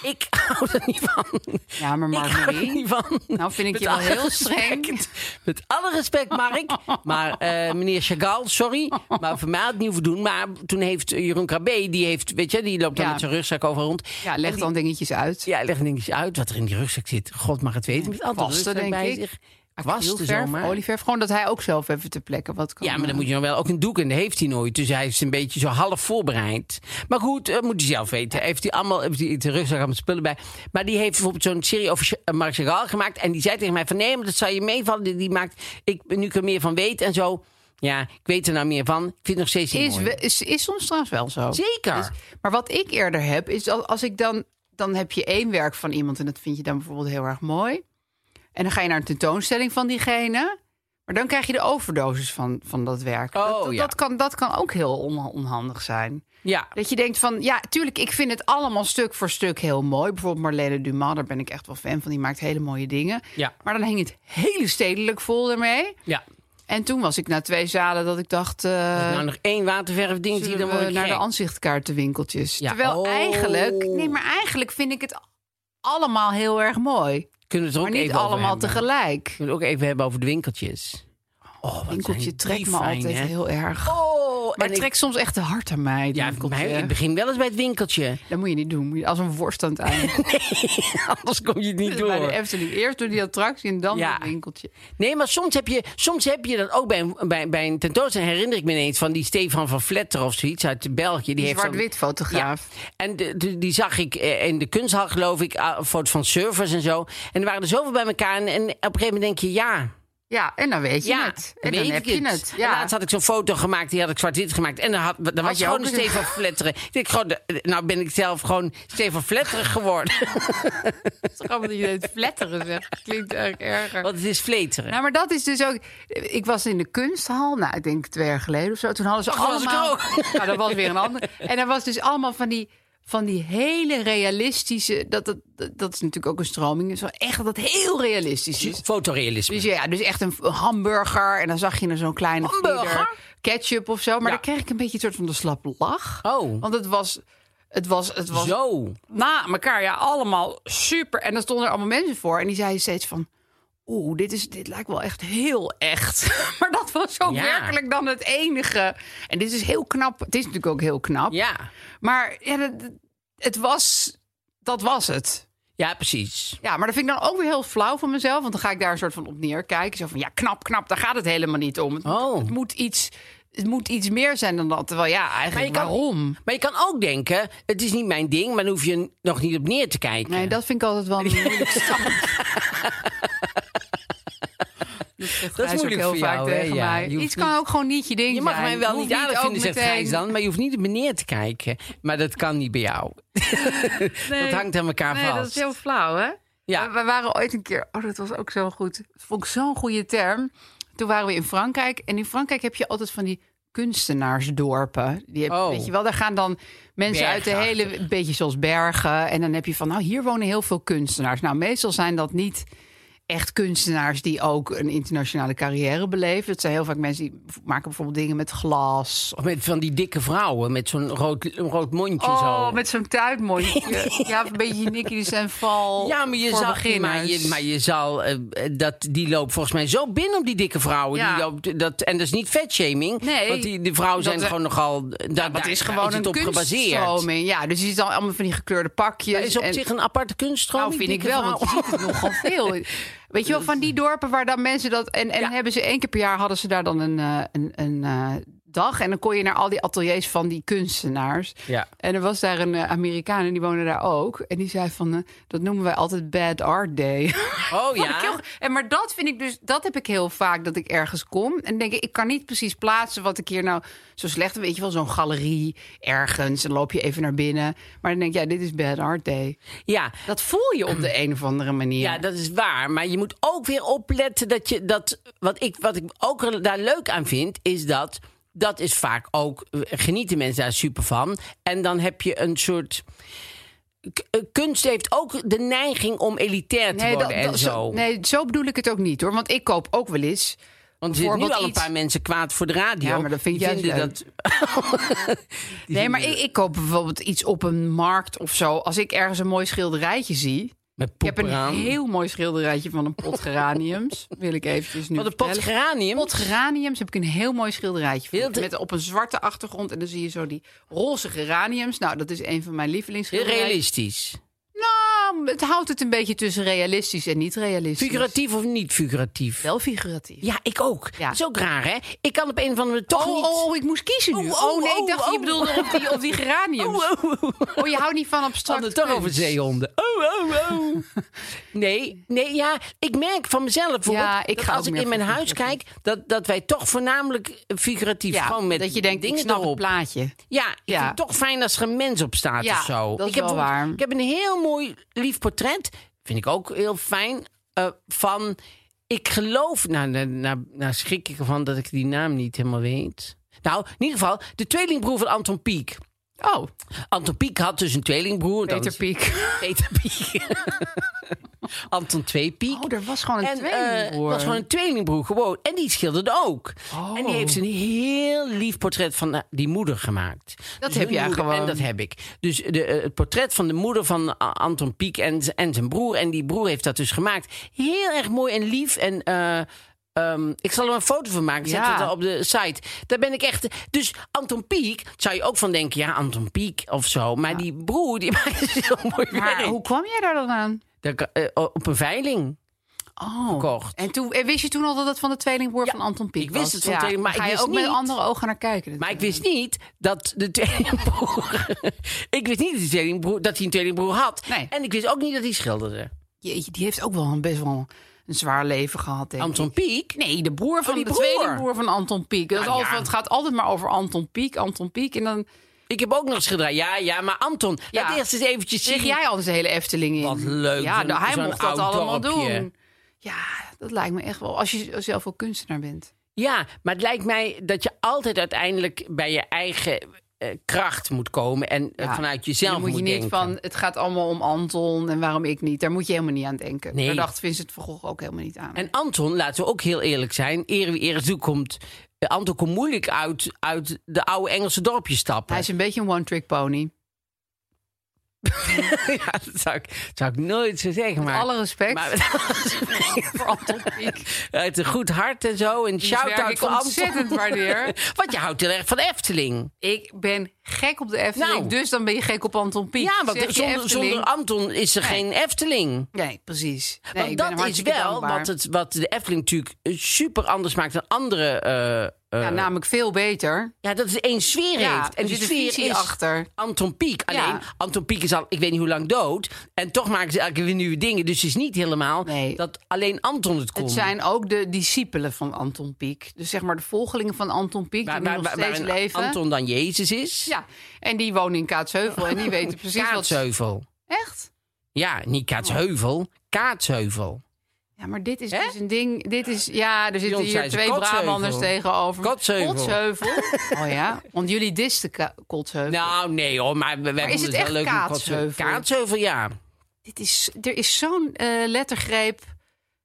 Speaker 3: *laughs*
Speaker 2: ik hou er niet van.
Speaker 3: Ja, maar
Speaker 2: ik hou er
Speaker 3: Mark-Marie,
Speaker 2: niet van.
Speaker 3: nou vind ik
Speaker 2: Met
Speaker 3: je wel
Speaker 2: alle
Speaker 3: heel streng.
Speaker 2: respect. Met alle respect, Mark. Maar eh, meneer Chagall, sorry. Maar voor mij had het niet hoeven doen. Maar toen heeft eh, Jeroen Krabbe, die, heeft, weet je, die loopt dan
Speaker 3: Ja.
Speaker 2: met zijn rugzak over rond.
Speaker 3: Ja, leg dan dingetjes uit.
Speaker 2: Ja, leg een dingetje uit wat er in die rugzak zit. God mag het weten. Met altijd
Speaker 3: kwasten,
Speaker 2: rugzak
Speaker 3: denk
Speaker 2: bij
Speaker 3: ik.
Speaker 2: zich. Kwasten
Speaker 3: Acrylverf,
Speaker 2: zomaar.
Speaker 3: olieverf. Gewoon dat hij ook zelf even te plekken wat kan.
Speaker 2: Ja, maar dan moet je nog wel ook een doek en dat heeft hij nooit. Dus hij is een beetje zo half voorbereid. Maar goed, eh, moet hij zelf weten. Heeft hij allemaal, heeft hij de rugzak allemaal spullen bij. Maar die heeft bijvoorbeeld zo'n serie over Ch- eh, Marc Chagall gemaakt. En die zei tegen mij van nee, maar dat zal je meevallen. Die, die maakt, ik nu ik er meer van weet en zo. Ja, ik weet er nou meer van. Ik vind het nog steeds niet
Speaker 3: Is,
Speaker 2: mooi.
Speaker 3: we- is, is soms trouwens wel zo.
Speaker 2: Zeker.
Speaker 3: Dus- maar wat ik eerder heb, is dat als ik dan... Dan heb je één werk van iemand en dat vind je dan bijvoorbeeld heel erg mooi. En dan ga je naar een tentoonstelling van diegene. Maar dan krijg je de overdosis van, van dat werk.
Speaker 2: Oh,
Speaker 3: dat, dat,
Speaker 2: ja.
Speaker 3: dat kan, dat kan ook heel on- onhandig zijn.
Speaker 2: Ja.
Speaker 3: Dat je denkt van, ja, tuurlijk, ik vind het allemaal stuk voor stuk heel mooi. Bijvoorbeeld Marlene Dumas, daar ben ik echt wel fan van. Die maakt hele mooie dingen.
Speaker 2: Ja.
Speaker 3: Maar dan hing het hele stedelijk vol ermee.
Speaker 2: Ja.
Speaker 3: En toen was ik na twee zalen dat ik dacht... eh,
Speaker 2: nou, nog één waterverfding die dan
Speaker 3: zullen we
Speaker 2: wordt
Speaker 3: eh, naar de aanzichtkaartenwinkeltjes.
Speaker 2: Ja.
Speaker 3: Terwijl
Speaker 2: Oh.
Speaker 3: eigenlijk... Nee, maar eigenlijk vind ik het allemaal heel erg mooi.
Speaker 2: Kunnen we het er
Speaker 3: Maar
Speaker 2: ook
Speaker 3: niet
Speaker 2: even over eh.
Speaker 3: allemaal
Speaker 2: hebben.
Speaker 3: tegelijk.
Speaker 2: Kunnen we het ook even hebben over de winkeltjes. Oh, wat
Speaker 3: Winkeltje
Speaker 2: zijn
Speaker 3: trekt
Speaker 2: die
Speaker 3: me
Speaker 2: fijn,
Speaker 3: altijd
Speaker 2: hè?
Speaker 3: heel erg.
Speaker 2: Oh,
Speaker 3: maar
Speaker 2: en
Speaker 3: het
Speaker 2: ik-
Speaker 3: trekt soms echt te hard aan mij. het
Speaker 2: Ja,
Speaker 3: winkeltje.
Speaker 2: maar ik begin wel eens bij het
Speaker 3: *laughs*
Speaker 2: winkeltje.
Speaker 3: Dat moet je niet doen. Moet je als een worst aan het
Speaker 2: *laughs*
Speaker 3: einde.
Speaker 2: Anders kom je het *laughs* niet
Speaker 3: Bij de
Speaker 2: door.
Speaker 3: Efteling. Eerst door die attractie en dan
Speaker 2: Ja.
Speaker 3: het winkeltje.
Speaker 2: eh, Nee, maar soms heb je, soms heb je dat ook bij een, bij, bij een tentoonstelling. Herinner ik me ineens van die Stefan van Vletter of zoiets uit België. Die,
Speaker 3: Die
Speaker 2: heeft dan-
Speaker 3: zwart-wit fotograaf.
Speaker 2: Ja. En de- de- die zag ik eh, in de kunsthal, geloof ik, ah, foto's van servers en zo. En er waren er zoveel bij elkaar. En, en op een gegeven moment denk je, ja,
Speaker 3: Ja, en dan weet je
Speaker 2: ja,
Speaker 3: het. En
Speaker 2: weet
Speaker 3: dan heb
Speaker 2: ik
Speaker 3: je het.
Speaker 2: En *laughs*
Speaker 3: Ja.
Speaker 2: laatst had ik zo'n foto gemaakt, die had ik zwart-wit gemaakt. En dan, had, dan was
Speaker 3: je
Speaker 2: je gewoon
Speaker 3: ook
Speaker 2: een
Speaker 3: eens een-
Speaker 2: Stefan Vletteren. Ik denk, gewoon, de- nou ben ik zelf gewoon Stefan Vletteren
Speaker 3: *laughs*
Speaker 2: geworden. Oh,
Speaker 3: Grappig dat je het flatteren zegt. Klinkt eigenlijk erger.
Speaker 2: Want het is Vleteren.
Speaker 3: Nou, maar dat is dus ook... Ik was in de kunsthal, nou, ik denk twee jaar geleden of zo. Toen hadden ze
Speaker 2: Toen Oh, was ik er
Speaker 3: allemaal...
Speaker 2: ook.
Speaker 3: *laughs* Nou, dat was weer een ander. En er was dus allemaal van die, van die hele realistische... Dat, dat, dat, dat is natuurlijk ook een stroming. Dus wel echt dat dat heel realistisch is.
Speaker 2: Fotorealisme.
Speaker 3: Dus ja, dus echt een hamburger. En dan zag je er zo'n kleine
Speaker 2: Hamburger?
Speaker 3: vlieder, ketchup of zo. Maar
Speaker 2: Ja.
Speaker 3: daar kreeg ik een beetje een soort van de slappe lach.
Speaker 2: Oh.
Speaker 3: Want het was... Het was, het was
Speaker 2: Zo.
Speaker 3: na elkaar, ja, allemaal super. En daar stonden er allemaal mensen voor. En die zeiden steeds van... Oeh, dit, is, dit lijkt wel echt heel echt. *laughs* maar dat was ook
Speaker 2: Ja.
Speaker 3: werkelijk dan het enige. En dit is heel knap. Het is natuurlijk ook heel knap.
Speaker 2: Ja.
Speaker 3: Maar ja, dat- dat- het was... Dat was het.
Speaker 2: Ja, precies.
Speaker 3: Ja, maar dat vind ik dan ook weer heel flauw van mezelf. Want dan ga ik daar een soort van op neerkijken. Zo van, ja, knap, knap, daar gaat het helemaal niet om. Het,
Speaker 2: Oh.
Speaker 3: het, moet, iets, het moet iets meer zijn dan dat. Terwijl ja, eigenlijk
Speaker 2: kan-
Speaker 3: waarom?
Speaker 2: Maar je kan ook denken, het is niet mijn ding, maar dan hoef je nog niet op neer te kijken.
Speaker 3: Nee, dat vind ik altijd
Speaker 2: *laughs*
Speaker 3: wel een moeilijk
Speaker 2: Dat is moeilijk voor jou, hè? Ja, je hoeft
Speaker 3: Iets kan
Speaker 2: niet-
Speaker 3: ook gewoon niet je ding
Speaker 2: je mag
Speaker 3: zijn.
Speaker 2: mij wel
Speaker 3: Hoeft
Speaker 2: niet aardig
Speaker 3: ook
Speaker 2: vinden, zegt
Speaker 3: meteen-
Speaker 2: Gijs dan, maar je hoeft niet op meneer te kijken. Maar dat kan niet bij jou.
Speaker 3: Nee.
Speaker 2: Dat hangt aan elkaar
Speaker 3: Nee,
Speaker 2: vast.
Speaker 3: dat is heel flauw, hè?
Speaker 2: Ja.
Speaker 3: We, we waren ooit een keer... Oh, dat was ook zo goed. Dat vond ik zo'n goede term. Toen waren we in Frankrijk. En in Frankrijk heb je altijd van die kunstenaarsdorpen. Die heb,
Speaker 2: Oh.
Speaker 3: Weet je wel, daar gaan dan mensen uit de
Speaker 2: Bergachtig.
Speaker 3: hele... Een beetje zoals bergen. En dan heb je van, nou, hier wonen heel veel kunstenaars. Nou, meestal zijn dat niet echt kunstenaars die ook een internationale carrière beleven. Het zijn heel vaak mensen die v- maken bijvoorbeeld dingen met glas.
Speaker 2: Of met van die dikke vrouwen met zo'n rood, een rood mondje zo.
Speaker 3: Oh, met zo'n tuitmondje. *laughs* ja, of een beetje Nicky de Saint-Val
Speaker 2: Ja, maar je
Speaker 3: voor
Speaker 2: zal, maar
Speaker 3: beginners.
Speaker 2: je, maar je zal eh, dat, die loopt volgens mij zo binnen op die dikke vrouwen.
Speaker 3: Ja.
Speaker 2: Die loopt, dat, en dat is niet vetshaming.
Speaker 3: Nee.
Speaker 2: Want die, die vrouwen
Speaker 3: Dat
Speaker 2: zijn
Speaker 3: er-
Speaker 2: gewoon nogal. Daar,
Speaker 3: Dat
Speaker 2: daar
Speaker 3: is gewoon
Speaker 2: het
Speaker 3: een
Speaker 2: op gebaseerd.
Speaker 3: kunststroming. Ja, dus je ziet dan allemaal van die gekleurde pakjes.
Speaker 2: Dat is op
Speaker 3: en-
Speaker 2: zich een aparte kunststroming.
Speaker 3: Nou, vind ik
Speaker 2: dikke
Speaker 3: wel, want
Speaker 2: vrouwen.
Speaker 3: je ziet *laughs* het nogal veel. Weet je wel, van die dorpen waar dan mensen dat... En, en
Speaker 2: Ja.
Speaker 3: hebben ze één keer per jaar hadden ze daar dan een, eh, een, een eh, dag. En dan kon je naar al die ateliers van die kunstenaars.
Speaker 2: Ja.
Speaker 3: En er was daar een eh, Amerikaan en die woonde daar ook. En die zei van, eh, dat noemen wij altijd Bad Art Day. *laughs*
Speaker 2: Oh
Speaker 3: Vond ik heel-
Speaker 2: ja.
Speaker 3: en maar dat vind ik dus, dat heb ik heel vaak dat ik ergens kom en denk ik, ik kan niet precies plaatsen wat ik hier nou zo slecht. Weet je wel, zo'n galerie ergens en loop je even naar binnen, maar dan denk je, ja, dit is bad art day.
Speaker 2: Ja.
Speaker 3: Dat voel je op de een of andere manier.
Speaker 2: Ja, dat is waar. Maar je moet ook weer opletten dat je dat. Wat ik, wat ik ook er- daar leuk aan vind, is dat. Dat is vaak ook. eh, Genieten mensen daar super van. En dan heb je een soort. k- eh, Kunst heeft ook de neiging om elitair te worden en zo.
Speaker 3: nee, zo bedoel ik het ook niet hoor, want ik koop ook wel eens.
Speaker 2: Want er zitten nu
Speaker 3: bijvoorbeeld
Speaker 2: al een
Speaker 3: iets-
Speaker 2: paar mensen kwaad voor de radio.
Speaker 3: Ja, maar dat vind
Speaker 2: Die
Speaker 3: jij
Speaker 2: vinden
Speaker 3: juist
Speaker 2: dat.
Speaker 3: Nee, maar ik, ik koop bijvoorbeeld iets op een markt of zo. Als ik ergens een mooi schilderijtje zie.
Speaker 2: Met
Speaker 3: Ik heb
Speaker 2: poep
Speaker 3: een
Speaker 2: eraan.
Speaker 3: heel mooi schilderijtje van een
Speaker 2: *laughs*
Speaker 3: pot geraniums. wil ik eventjes nu
Speaker 2: Wat een pot
Speaker 3: vertellen.
Speaker 2: geranium.
Speaker 3: pot geraniums heb ik een heel mooi schilderijtje van.
Speaker 2: Heel te-
Speaker 3: Met op een zwarte achtergrond. En dan zie je zo die roze geraniums. Nou, dat is een van mijn
Speaker 2: Heel
Speaker 3: lievelingsschilderijen.
Speaker 2: realistisch.
Speaker 3: Nou, het houdt het een beetje tussen realistisch en niet realistisch.
Speaker 2: Figuratief of niet figuratief?
Speaker 3: Wel figuratief.
Speaker 2: Ja, ik ook.
Speaker 3: Ja.
Speaker 2: Dat is ook raar, hè? Ik kan op een of andere toch
Speaker 3: Oh,
Speaker 2: niet...
Speaker 3: oh, oh, ik moest kiezen nu.
Speaker 2: Oh,
Speaker 3: Oh,
Speaker 2: oh,
Speaker 3: nee, ik
Speaker 2: oh,
Speaker 3: dacht,
Speaker 2: oh.
Speaker 3: je bedoelde op die, op
Speaker 2: *laughs*
Speaker 3: die geraniums. Oh, je houdt niet van
Speaker 2: We
Speaker 3: abstract
Speaker 2: hadden het toch
Speaker 3: kunst.
Speaker 2: over zeehonden. Oh, oh, oh. *laughs* Nee, nee, ja, ik merk van mezelf bijvoorbeeld...
Speaker 3: Ja, ik
Speaker 2: dat
Speaker 3: ga
Speaker 2: als
Speaker 3: ook
Speaker 2: ik
Speaker 3: meer
Speaker 2: in mijn
Speaker 3: voor
Speaker 2: huis kijk... Dat, dat wij toch voornamelijk figuratief...
Speaker 3: Ja,
Speaker 2: gewoon met
Speaker 3: dat je denkt, ik
Speaker 2: dingen
Speaker 3: snap het
Speaker 2: erop.
Speaker 3: plaatje.
Speaker 2: Ja, ik
Speaker 3: Ja.
Speaker 2: vind het toch fijn als er een mens op staat
Speaker 3: Ja,
Speaker 2: of zo.
Speaker 3: dat is
Speaker 2: ik heb
Speaker 3: wel
Speaker 2: bijvoorbeeld-
Speaker 3: waar.
Speaker 2: Ik heb een heel mooi, lief portret. Vind ik ook heel fijn. eh, van, ik geloof... Nou, nou, nou, nou schrik ik ervan dat ik die naam niet helemaal weet. Nou, in ieder geval, de tweelingbroer van Anton Pieck.
Speaker 3: Oh,
Speaker 2: Anton Pieck had dus een tweelingbroer. dat
Speaker 3: Peter
Speaker 2: is- *laughs*
Speaker 3: Piek.
Speaker 2: Peter
Speaker 3: *laughs*
Speaker 2: Pieck. Anton 2 Pieck.
Speaker 3: Oh, er was gewoon een
Speaker 2: En, eh,
Speaker 3: tweelingbroer. Oh.
Speaker 2: was gewoon een tweelingbroer, gewoon. En die schilderde ook. En die heeft een heel lief portret van eh, die moeder gemaakt. Dus
Speaker 3: Dat heb
Speaker 2: hun
Speaker 3: jij
Speaker 2: moeder-
Speaker 3: gewoon.
Speaker 2: En dat heb ik. Dus de, eh, het portret van de moeder van eh, Anton Pieck en, z- en zijn broer. En die broer heeft dat dus gemaakt. Heel erg mooi en lief. En eh, ehm, ik zal er een foto van maken. Zet
Speaker 3: Ja.
Speaker 2: het al op de site. Daar ben ik echt... Dus Anton Pieck, zou je ook van denken... Ja, Anton Pieck of zo. Maar die broer, die *laughs* maakt heel mooi
Speaker 3: Maar
Speaker 2: werk.
Speaker 3: hoe kwam jij daar dan aan?
Speaker 2: Dat ik, eh, op een veiling
Speaker 3: Oh.
Speaker 2: kocht.
Speaker 3: En, toen, en wist je toen al dat het van de tweelingbroer van Anton Pieck
Speaker 2: ik
Speaker 3: was?
Speaker 2: wist het van de tweeling, maar
Speaker 3: Ga
Speaker 2: ik
Speaker 3: je
Speaker 2: wist
Speaker 3: ook met
Speaker 2: niet-
Speaker 3: andere ogen naar kijken.
Speaker 2: Maar ik wist niet dat de tweelingbroer... *laughs* ik wist niet dat, die tweelingbroer, dat hij een tweelingbroer had.
Speaker 3: Nee.
Speaker 2: En ik wist ook niet dat hij schilderde.
Speaker 3: Jeetje, die heeft ook wel een, best wel een zwaar leven gehad, denk ik.
Speaker 2: Anton Pieck?
Speaker 3: Nee, de broer Nou van
Speaker 2: die
Speaker 3: de
Speaker 2: broer.
Speaker 3: tweelingbroer van Anton Pieck. Dat is
Speaker 2: Ja,
Speaker 3: altijd-
Speaker 2: ja.
Speaker 3: Het gaat altijd maar over Anton Pieck, Anton Pieck. En dan
Speaker 2: Ik heb ook nog eens gedraaid. Ja, ja, maar Anton,
Speaker 3: Ja.
Speaker 2: laat eerst eens eventjes
Speaker 3: kreeg
Speaker 2: zien.
Speaker 3: jij al eens de hele Efteling in.
Speaker 2: Wat leuk,
Speaker 3: Ja,
Speaker 2: zo'n-
Speaker 3: nou, hij
Speaker 2: zo'n
Speaker 3: mocht dat
Speaker 2: oud
Speaker 3: allemaal
Speaker 2: dorpje.
Speaker 3: doen. Ja, dat lijkt me echt wel. Als je zelf ook kunstenaar bent.
Speaker 2: Ja, maar het lijkt mij dat je altijd uiteindelijk bij je eigen eh, kracht moet komen. En eh,
Speaker 3: Ja.
Speaker 2: vanuit
Speaker 3: En
Speaker 2: jezelf
Speaker 3: dan moet je
Speaker 2: moet
Speaker 3: niet
Speaker 2: denken.
Speaker 3: van, het gaat allemaal om Anton en waarom ik niet. Daar moet je helemaal niet aan denken.
Speaker 2: Nee.
Speaker 3: Daar dacht Vincent van Gogh ook helemaal niet aan.
Speaker 2: En Anton, laten we ook heel eerlijk zijn, eer wie eer toekomt. eh, Anton komt moeilijk uit, uit de oude Engelse dorpjes stappen.
Speaker 3: Hij is een beetje een one-trick pony.
Speaker 2: *laughs* ja, dat zou ik, dat zou ik nooit zo zeggen. maar,
Speaker 3: Alle respect
Speaker 2: maar
Speaker 3: *laughs* voor Anton Pieck.
Speaker 2: *laughs* uit een goed hart en zo. En
Speaker 3: Die werk
Speaker 2: shout-out
Speaker 3: ik
Speaker 2: voor
Speaker 3: ontzettend
Speaker 2: Anton.
Speaker 3: waardeer.
Speaker 2: *laughs* Want je houdt heel erg van de Efteling.
Speaker 3: Ik ben gek op de Efteling,
Speaker 2: Nou.
Speaker 3: dus dan ben je gek op Anton Pieck.
Speaker 2: Ja,
Speaker 3: Zeg
Speaker 2: want
Speaker 3: je
Speaker 2: zonder,
Speaker 3: Efteling?
Speaker 2: zonder Anton is er geen Efteling.
Speaker 3: Nee, precies. Nee, ik ben
Speaker 2: want
Speaker 3: hem
Speaker 2: dat is
Speaker 3: hartstikke
Speaker 2: wel
Speaker 3: dankbaar.
Speaker 2: wat, het, wat de Efteling natuurlijk eh, super anders maakt dan andere... eh, eh,
Speaker 3: Ja, namelijk veel beter.
Speaker 2: ja, dat het één sfeer
Speaker 3: Ja,
Speaker 2: heeft. En
Speaker 3: er
Speaker 2: die
Speaker 3: zit een
Speaker 2: sfeer
Speaker 3: visie
Speaker 2: is
Speaker 3: achter.
Speaker 2: Anton Pieck. Alleen,
Speaker 3: Ja.
Speaker 2: Anton Pieck is al, ik weet niet hoe lang dood. En toch maken ze elke keer weer nieuwe dingen. Dus het is niet helemaal
Speaker 3: Nee.
Speaker 2: dat alleen Anton het kon.
Speaker 3: Het zijn ook de discipelen van Anton Pieck. Dus zeg maar de volgelingen van Anton Pieck
Speaker 2: waar,
Speaker 3: die nu
Speaker 2: waar-
Speaker 3: nog
Speaker 2: waar-
Speaker 3: steeds
Speaker 2: waarin
Speaker 3: leven.
Speaker 2: Anton dan Jezus is.
Speaker 3: Ja, en die wonen in Kaatsheuvel
Speaker 2: *laughs*
Speaker 3: en die weten precies wat...
Speaker 2: Kaatsheuvel.
Speaker 3: Echt?
Speaker 2: Ja, niet Kaatsheuvel. Kaatsheuvel.
Speaker 3: Ja, maar dit is
Speaker 2: Hè?
Speaker 3: dus een ding. Dit is, ja, er zitten
Speaker 2: Jong,
Speaker 3: hier
Speaker 2: zei ze,
Speaker 3: twee
Speaker 2: Kotsheuvel.
Speaker 3: Brabanders tegenover.
Speaker 2: Kotsheuvel.
Speaker 3: Kotsheuvel. Oh ja, want jullie disten ka- Kotsheuvel.
Speaker 2: Nou, nee hoor, maar we
Speaker 3: is het echt
Speaker 2: wel leuk om
Speaker 3: kaatsheuvel?
Speaker 2: kotsen- Kaatsheuvel, ja.
Speaker 3: Dit is, er is zo'n eh, lettergreep,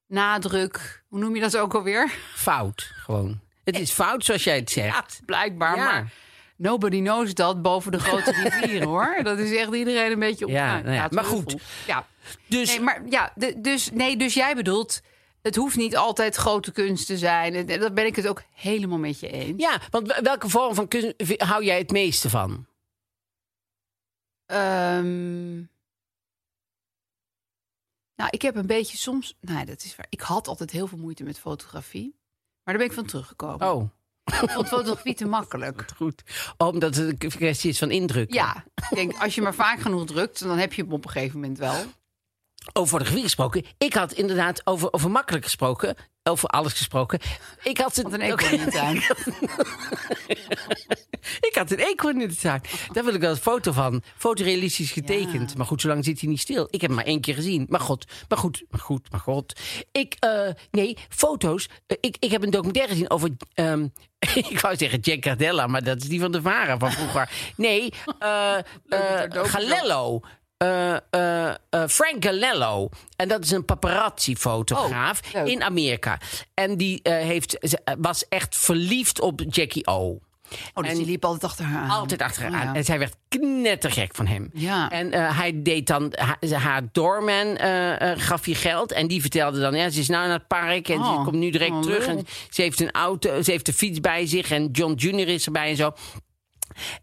Speaker 3: nadruk, hoe noem je dat ook alweer?
Speaker 2: Fout, gewoon. Het is fout zoals jij het zegt.
Speaker 3: Ja, *laughs* blijkbaar,
Speaker 2: Ja.
Speaker 3: maar nobody knows dat boven de grote
Speaker 2: *laughs*
Speaker 3: rivier, hoor. Dat is echt iedereen een beetje op.
Speaker 2: Ja,
Speaker 3: nou,
Speaker 2: nou ja, maar goed.
Speaker 3: Kotsheuvel. Ja.
Speaker 2: Dus
Speaker 3: Nee, maar ja, de- dus, nee, dus jij bedoelt, het hoeft niet altijd grote kunst te zijn. En Daar ben ik het ook helemaal met je eens.
Speaker 2: ja, want wel- welke vorm van kunst v- hou jij het meeste van?
Speaker 3: Ehm, nou, ik heb een beetje soms. Nee, dat is waar. Ik had altijd heel veel moeite met fotografie. Maar daar ben ik van teruggekomen.
Speaker 2: Oh,
Speaker 3: Ik vond fotografie te
Speaker 2: *laughs*
Speaker 3: makkelijk.
Speaker 2: goed. Oh, omdat het een kwestie is van indruk.
Speaker 3: Ja, ik denk, als je maar vaak genoeg drukt, dan heb je hem op een gegeven moment wel.
Speaker 2: Over fotografie gesproken. Ik had inderdaad over, over makkelijk gesproken. Over alles gesproken. Ik had het,
Speaker 3: Wat een
Speaker 2: *laughs*
Speaker 3: eekhoorn in de tuin. Oh,
Speaker 2: ik had een eekhoorn in de tuin. Daar wil ik wel een foto van. Fotorealistisch getekend.
Speaker 3: Ja.
Speaker 2: Maar goed, zo lang zit hij niet stil. Ik heb hem maar één keer gezien. Maar god, maar goed, maar goed, maar god. Ik, eh, nee, foto's. Eh, ik, ik heb een documentaire gezien over... ehm, *laughs* ik wou zeggen Jack Cardella, maar dat is die van de Vara van vroeger. Nee,
Speaker 3: *laughs*
Speaker 2: eh, eh,
Speaker 3: dat er docu-
Speaker 2: Galello. Eh, eh, eh, Frank Galello. En dat is een paparazzi-fotograaf
Speaker 3: Oh, leuk.
Speaker 2: in Amerika. En die eh, heeft, ze- was echt verliefd op Jackie O.
Speaker 3: Oh, dus
Speaker 2: En-
Speaker 3: die liep altijd achter haar aan.
Speaker 2: Altijd achter haar
Speaker 3: Oh, ja.
Speaker 2: aan. En zij werd knettergek van hem.
Speaker 3: Ja.
Speaker 2: En eh, hij deed dan, ha- haar doorman eh, eh, gaf je geld. En die vertelde dan, ja, ze is nou naar het park en
Speaker 3: Oh,
Speaker 2: ze komt nu direct
Speaker 3: oh,
Speaker 2: terug.
Speaker 3: lul.
Speaker 2: En ze heeft een auto, ze heeft de fiets bij zich en John Jr. is erbij en zo.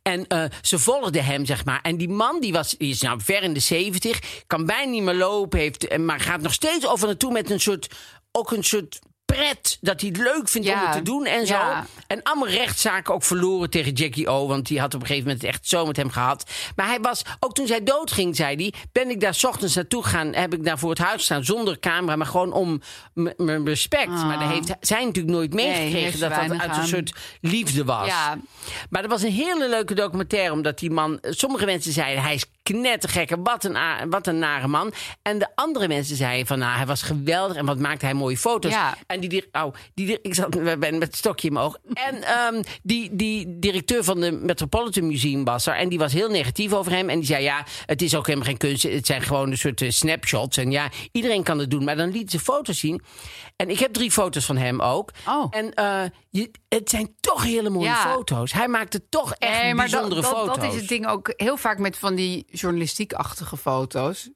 Speaker 2: En eh, ze volgde hem, zeg maar. En die man, die, was, die is nou ver in de zeventig, kan bijna niet meer lopen, heeft, eh, maar gaat nog steeds over naartoe met een soort, ook een soort pret dat hij het leuk vindt om
Speaker 3: Ja.
Speaker 2: het te doen en zo.
Speaker 3: Ja.
Speaker 2: En allemaal rechtszaken ook verloren tegen Jackie O. Want die had op een gegeven moment het echt zo met hem gehad. Maar hij was, ook toen zij doodging, zei hij... ben ik daar 's ochtends naartoe gegaan, heb ik daar voor het huis staan... zonder camera, maar gewoon om m- mijn respect. Maar daar heeft zij natuurlijk nooit meegekregen...
Speaker 3: Ah. heeft
Speaker 2: dat dat
Speaker 3: weinig
Speaker 2: uit een
Speaker 3: aan.
Speaker 2: soort liefde was.
Speaker 3: Ja.
Speaker 2: Maar dat was een hele leuke documentaire... omdat die man... Sommige mensen zeiden, hij is knettergek... en wat een, a- wat een nare man. En de andere mensen zeiden van... nou, hij was geweldig en wat maakte hij mooie foto's.
Speaker 3: Ja.
Speaker 2: En die, dir- au, die dir- ik zat ik ben met het stokje in mijn oog. En ehm, die, die directeur van de Metropolitan Museum was er. En die was heel negatief over hem. En die zei: Ja, het is ook helemaal geen kunst. Het zijn gewoon een soort eh, snapshots. En ja, iedereen kan het doen. Maar dan liet ze foto's zien. En ik heb drie foto's van hem ook.
Speaker 3: Oh.
Speaker 2: En eh, je, het zijn toch hele mooie
Speaker 3: Ja.
Speaker 2: foto's. Hij maakte toch echt
Speaker 3: Nee, maar dat,
Speaker 2: bijzondere
Speaker 3: dat,
Speaker 2: foto's.
Speaker 3: dat is het ding ook heel vaak met van die journalistiekachtige foto's.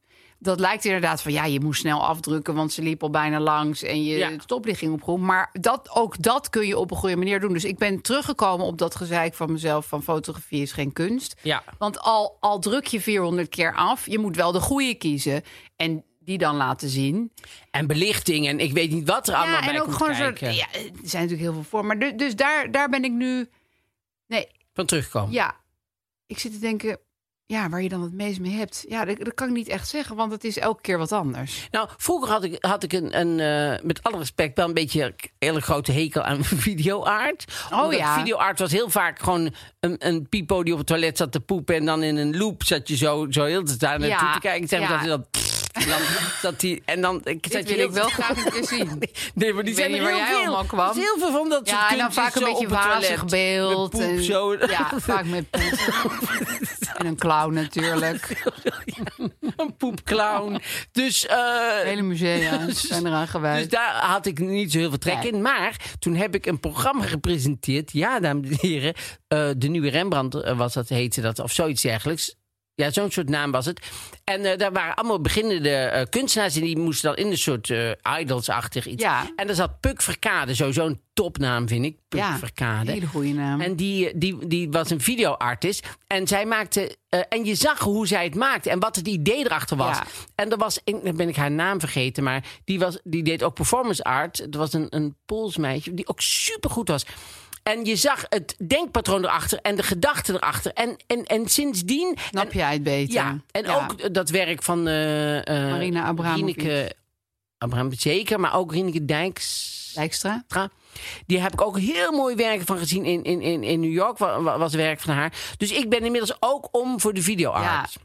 Speaker 3: Dat lijkt inderdaad van ja, je moest snel afdrukken, want ze liep al bijna langs en je
Speaker 2: Ja.
Speaker 3: stoplichting op groen. Maar dat, ook dat kun je op een goede manier doen. Dus ik ben teruggekomen op dat gezeik van mezelf: van fotografie is geen kunst.
Speaker 2: Ja.
Speaker 3: Want al, al druk je 400 keer af, je moet wel de goede kiezen en die dan laten zien.
Speaker 2: En belichting. En ik weet niet wat er allemaal bij komt kijken.
Speaker 3: zo. Ja, er zijn natuurlijk heel veel voor. Maar du- dus daar, daar ben ik nu. Nee,
Speaker 2: Van terugkomen.
Speaker 3: ja, ik zit te denken, ja, waar je dan het meest mee hebt. Ja, dat, dat kan ik niet echt zeggen, want het is elke keer wat anders.
Speaker 2: Nou, vroeger had ik, had ik een, een eh, met alle respect, wel een beetje een hele grote hekel aan *laughs* videoart.
Speaker 3: Oh ja.
Speaker 2: Videoart was heel vaak gewoon een, een pipo die op het toilet zat te poepen. En dan in een loop zat je zo, zo heel de tijd naartoe
Speaker 3: Ja,
Speaker 2: te kijken. Zeg maar
Speaker 3: ja.
Speaker 2: dat hij dan- *laughs* en dan zat hij- en dan ik,
Speaker 3: Dit
Speaker 2: zat je
Speaker 3: wil
Speaker 2: heel
Speaker 3: ik wel
Speaker 2: de-
Speaker 3: graag een keer
Speaker 2: *laughs*
Speaker 3: zien.
Speaker 2: Nee, maar die
Speaker 3: Ik
Speaker 2: zijn
Speaker 3: weet
Speaker 2: er
Speaker 3: niet waar
Speaker 2: heel
Speaker 3: jij
Speaker 2: veel.
Speaker 3: allemaal kwam.
Speaker 2: Er is heel veel van dat soort
Speaker 3: Ja, en dan
Speaker 2: kunstjes
Speaker 3: vaak een
Speaker 2: zo
Speaker 3: beetje
Speaker 2: op het toilet.
Speaker 3: wazig
Speaker 2: Met
Speaker 3: beeld.
Speaker 2: poep
Speaker 3: en,
Speaker 2: zo. *laughs*
Speaker 3: *laughs* Ja, vaak met poep. en een clown natuurlijk.
Speaker 2: Een poepclown. Dus eh,
Speaker 3: Hele
Speaker 2: *laughs*
Speaker 3: musea zijn eraan gewijd.
Speaker 2: Dus daar had ik niet zo heel veel trek
Speaker 3: Nee.
Speaker 2: in. Maar toen heb ik een programma gepresenteerd. Ja, dames en heren. eh, de nieuwe Rembrandt eh, was dat, heette dat. Of zoiets dergelijks. Ja, zo'n soort naam was het. En eh, daar waren allemaal beginnende eh, kunstenaars. En die moesten dan in een soort eh, idols-achtig iets.
Speaker 3: Ja.
Speaker 2: En daar zat Puk Verkade. Sowieso een topnaam, vind ik. Puk
Speaker 3: ja,
Speaker 2: Verkade.
Speaker 3: hele goede naam.
Speaker 2: En die, die, die was een videoartist. En zij maakte. eh, en je zag hoe zij het maakte en wat het idee erachter was.
Speaker 3: Ja.
Speaker 2: En er was. een- Dan ben ik haar naam vergeten. Maar die, was, die deed ook performance art. Het was een, een Pools meisje die ook supergoed was. En je zag het denkpatroon erachter en de gedachten erachter. En, en, en sindsdien.
Speaker 3: Snap jij het beter?
Speaker 2: Ja, en ook dat werk van eh, eh,
Speaker 3: Marina Abramovic.
Speaker 2: Rieneke Abramovic zeker, maar ook Rieneke Dijks.
Speaker 3: Dijkstra?
Speaker 2: Tra. Die heb ik ook heel mooi werken van gezien in, in, in, in New York. wa- wa- Was werk van haar. Dus ik ben inmiddels ook om voor de videoart.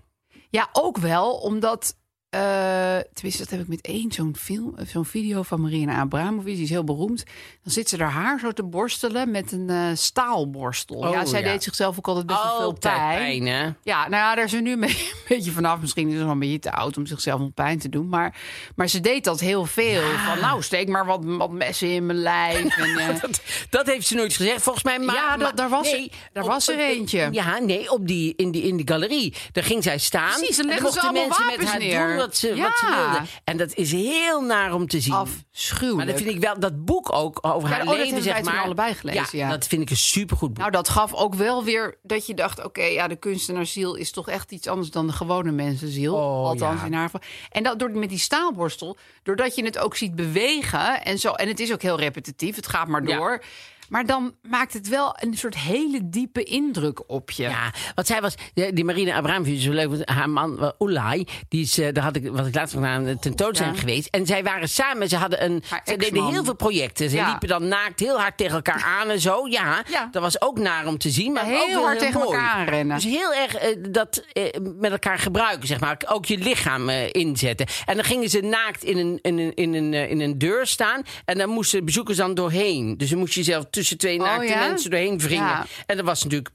Speaker 3: Ja, ook wel, omdat eh, eh, tenminste, dat heb ik met één zo'n film, eh, zo'n video van Marina Abramovic, die is heel beroemd. Dan zit ze haar haar zo te borstelen met een eh, staalborstel.
Speaker 2: Oh,
Speaker 3: ja, zij
Speaker 2: ja.
Speaker 3: deed zichzelf ook altijd best wel veel
Speaker 2: Altijd
Speaker 3: pijn.
Speaker 2: pijn, hè?
Speaker 3: Ja, nou ja, daar is ze nu een beetje- *laughs* een beetje vanaf. Misschien is ze wel een beetje te oud om zichzelf nog pijn te doen. Maar, maar ze deed dat heel veel. Van nou, steek maar wat, wat messen in mijn lijf.
Speaker 2: *laughs*
Speaker 3: En, eh,
Speaker 2: Dat, dat heeft ze nooit gezegd, volgens mij. Maar,
Speaker 3: Ja, dat-
Speaker 2: maar-
Speaker 3: daar was- daar was er
Speaker 2: eh,
Speaker 3: eentje.
Speaker 2: Ja, nee, op die, in, die, in de galerie. Daar ging zij staan.
Speaker 3: Precies, dan
Speaker 2: en
Speaker 3: leggen ze
Speaker 2: mochten
Speaker 3: allemaal
Speaker 2: mensen met
Speaker 3: wapens
Speaker 2: haar
Speaker 3: neer.
Speaker 2: doen wat ze,
Speaker 3: Ja.
Speaker 2: wat ze wilden. En dat is heel naar om te zien.
Speaker 3: Afschuwelijk.
Speaker 2: Maar dat vind ik wel, dat boek ook over
Speaker 3: Ja,
Speaker 2: haar
Speaker 3: oh, dat
Speaker 2: leven,
Speaker 3: hebben
Speaker 2: zeg
Speaker 3: wij toen
Speaker 2: maar.
Speaker 3: allebei gelezen, ja.
Speaker 2: dat vind ik een supergoed boek.
Speaker 3: Nou, dat gaf ook wel weer dat je dacht: oké, ja, de kunstenaarsziel is toch echt iets anders dan de gewone mensenziel.
Speaker 2: Oh,
Speaker 3: althans,
Speaker 2: ja.
Speaker 3: in haar geval. En dat door met die staalborstel, doordat je het ook ziet bewegen en zo. En het is ook heel repetitief, het gaat maar
Speaker 2: Ja.
Speaker 3: door. Maar dan maakt het wel een soort hele diepe indruk op je.
Speaker 2: Ja, want zij was, die die Marina Abramovic is zo leuk, want haar man eh, Oelai, die is, eh, daar had ik, was ik laatst nog naar een tentoonstelling
Speaker 3: ja.
Speaker 2: geweest. En zij waren samen, ze hadden een,
Speaker 3: Haar
Speaker 2: ze deden
Speaker 3: ex-man.
Speaker 2: heel veel projecten. Ze
Speaker 3: Ja.
Speaker 2: liepen dan naakt heel hard tegen
Speaker 3: *laughs*
Speaker 2: elkaar aan en zo. Ja,
Speaker 3: Ja.
Speaker 2: dat was ook naar om te zien, maar
Speaker 3: Ja,
Speaker 2: ook
Speaker 3: heel
Speaker 2: wel
Speaker 3: hard tegen
Speaker 2: mooi.
Speaker 3: elkaar aanrennen.
Speaker 2: Dus heel erg eh, dat eh, met elkaar gebruiken, zeg maar. Ook je lichaam eh, inzetten. En dan gingen ze naakt in een, in, een, in, een, eh, in een deur staan en dan moesten bezoekers dan doorheen. Dus dan moest je zelf tussen twee naakte
Speaker 3: Oh ja?
Speaker 2: mensen doorheen wringen.
Speaker 3: Ja.
Speaker 2: En dat was natuurlijk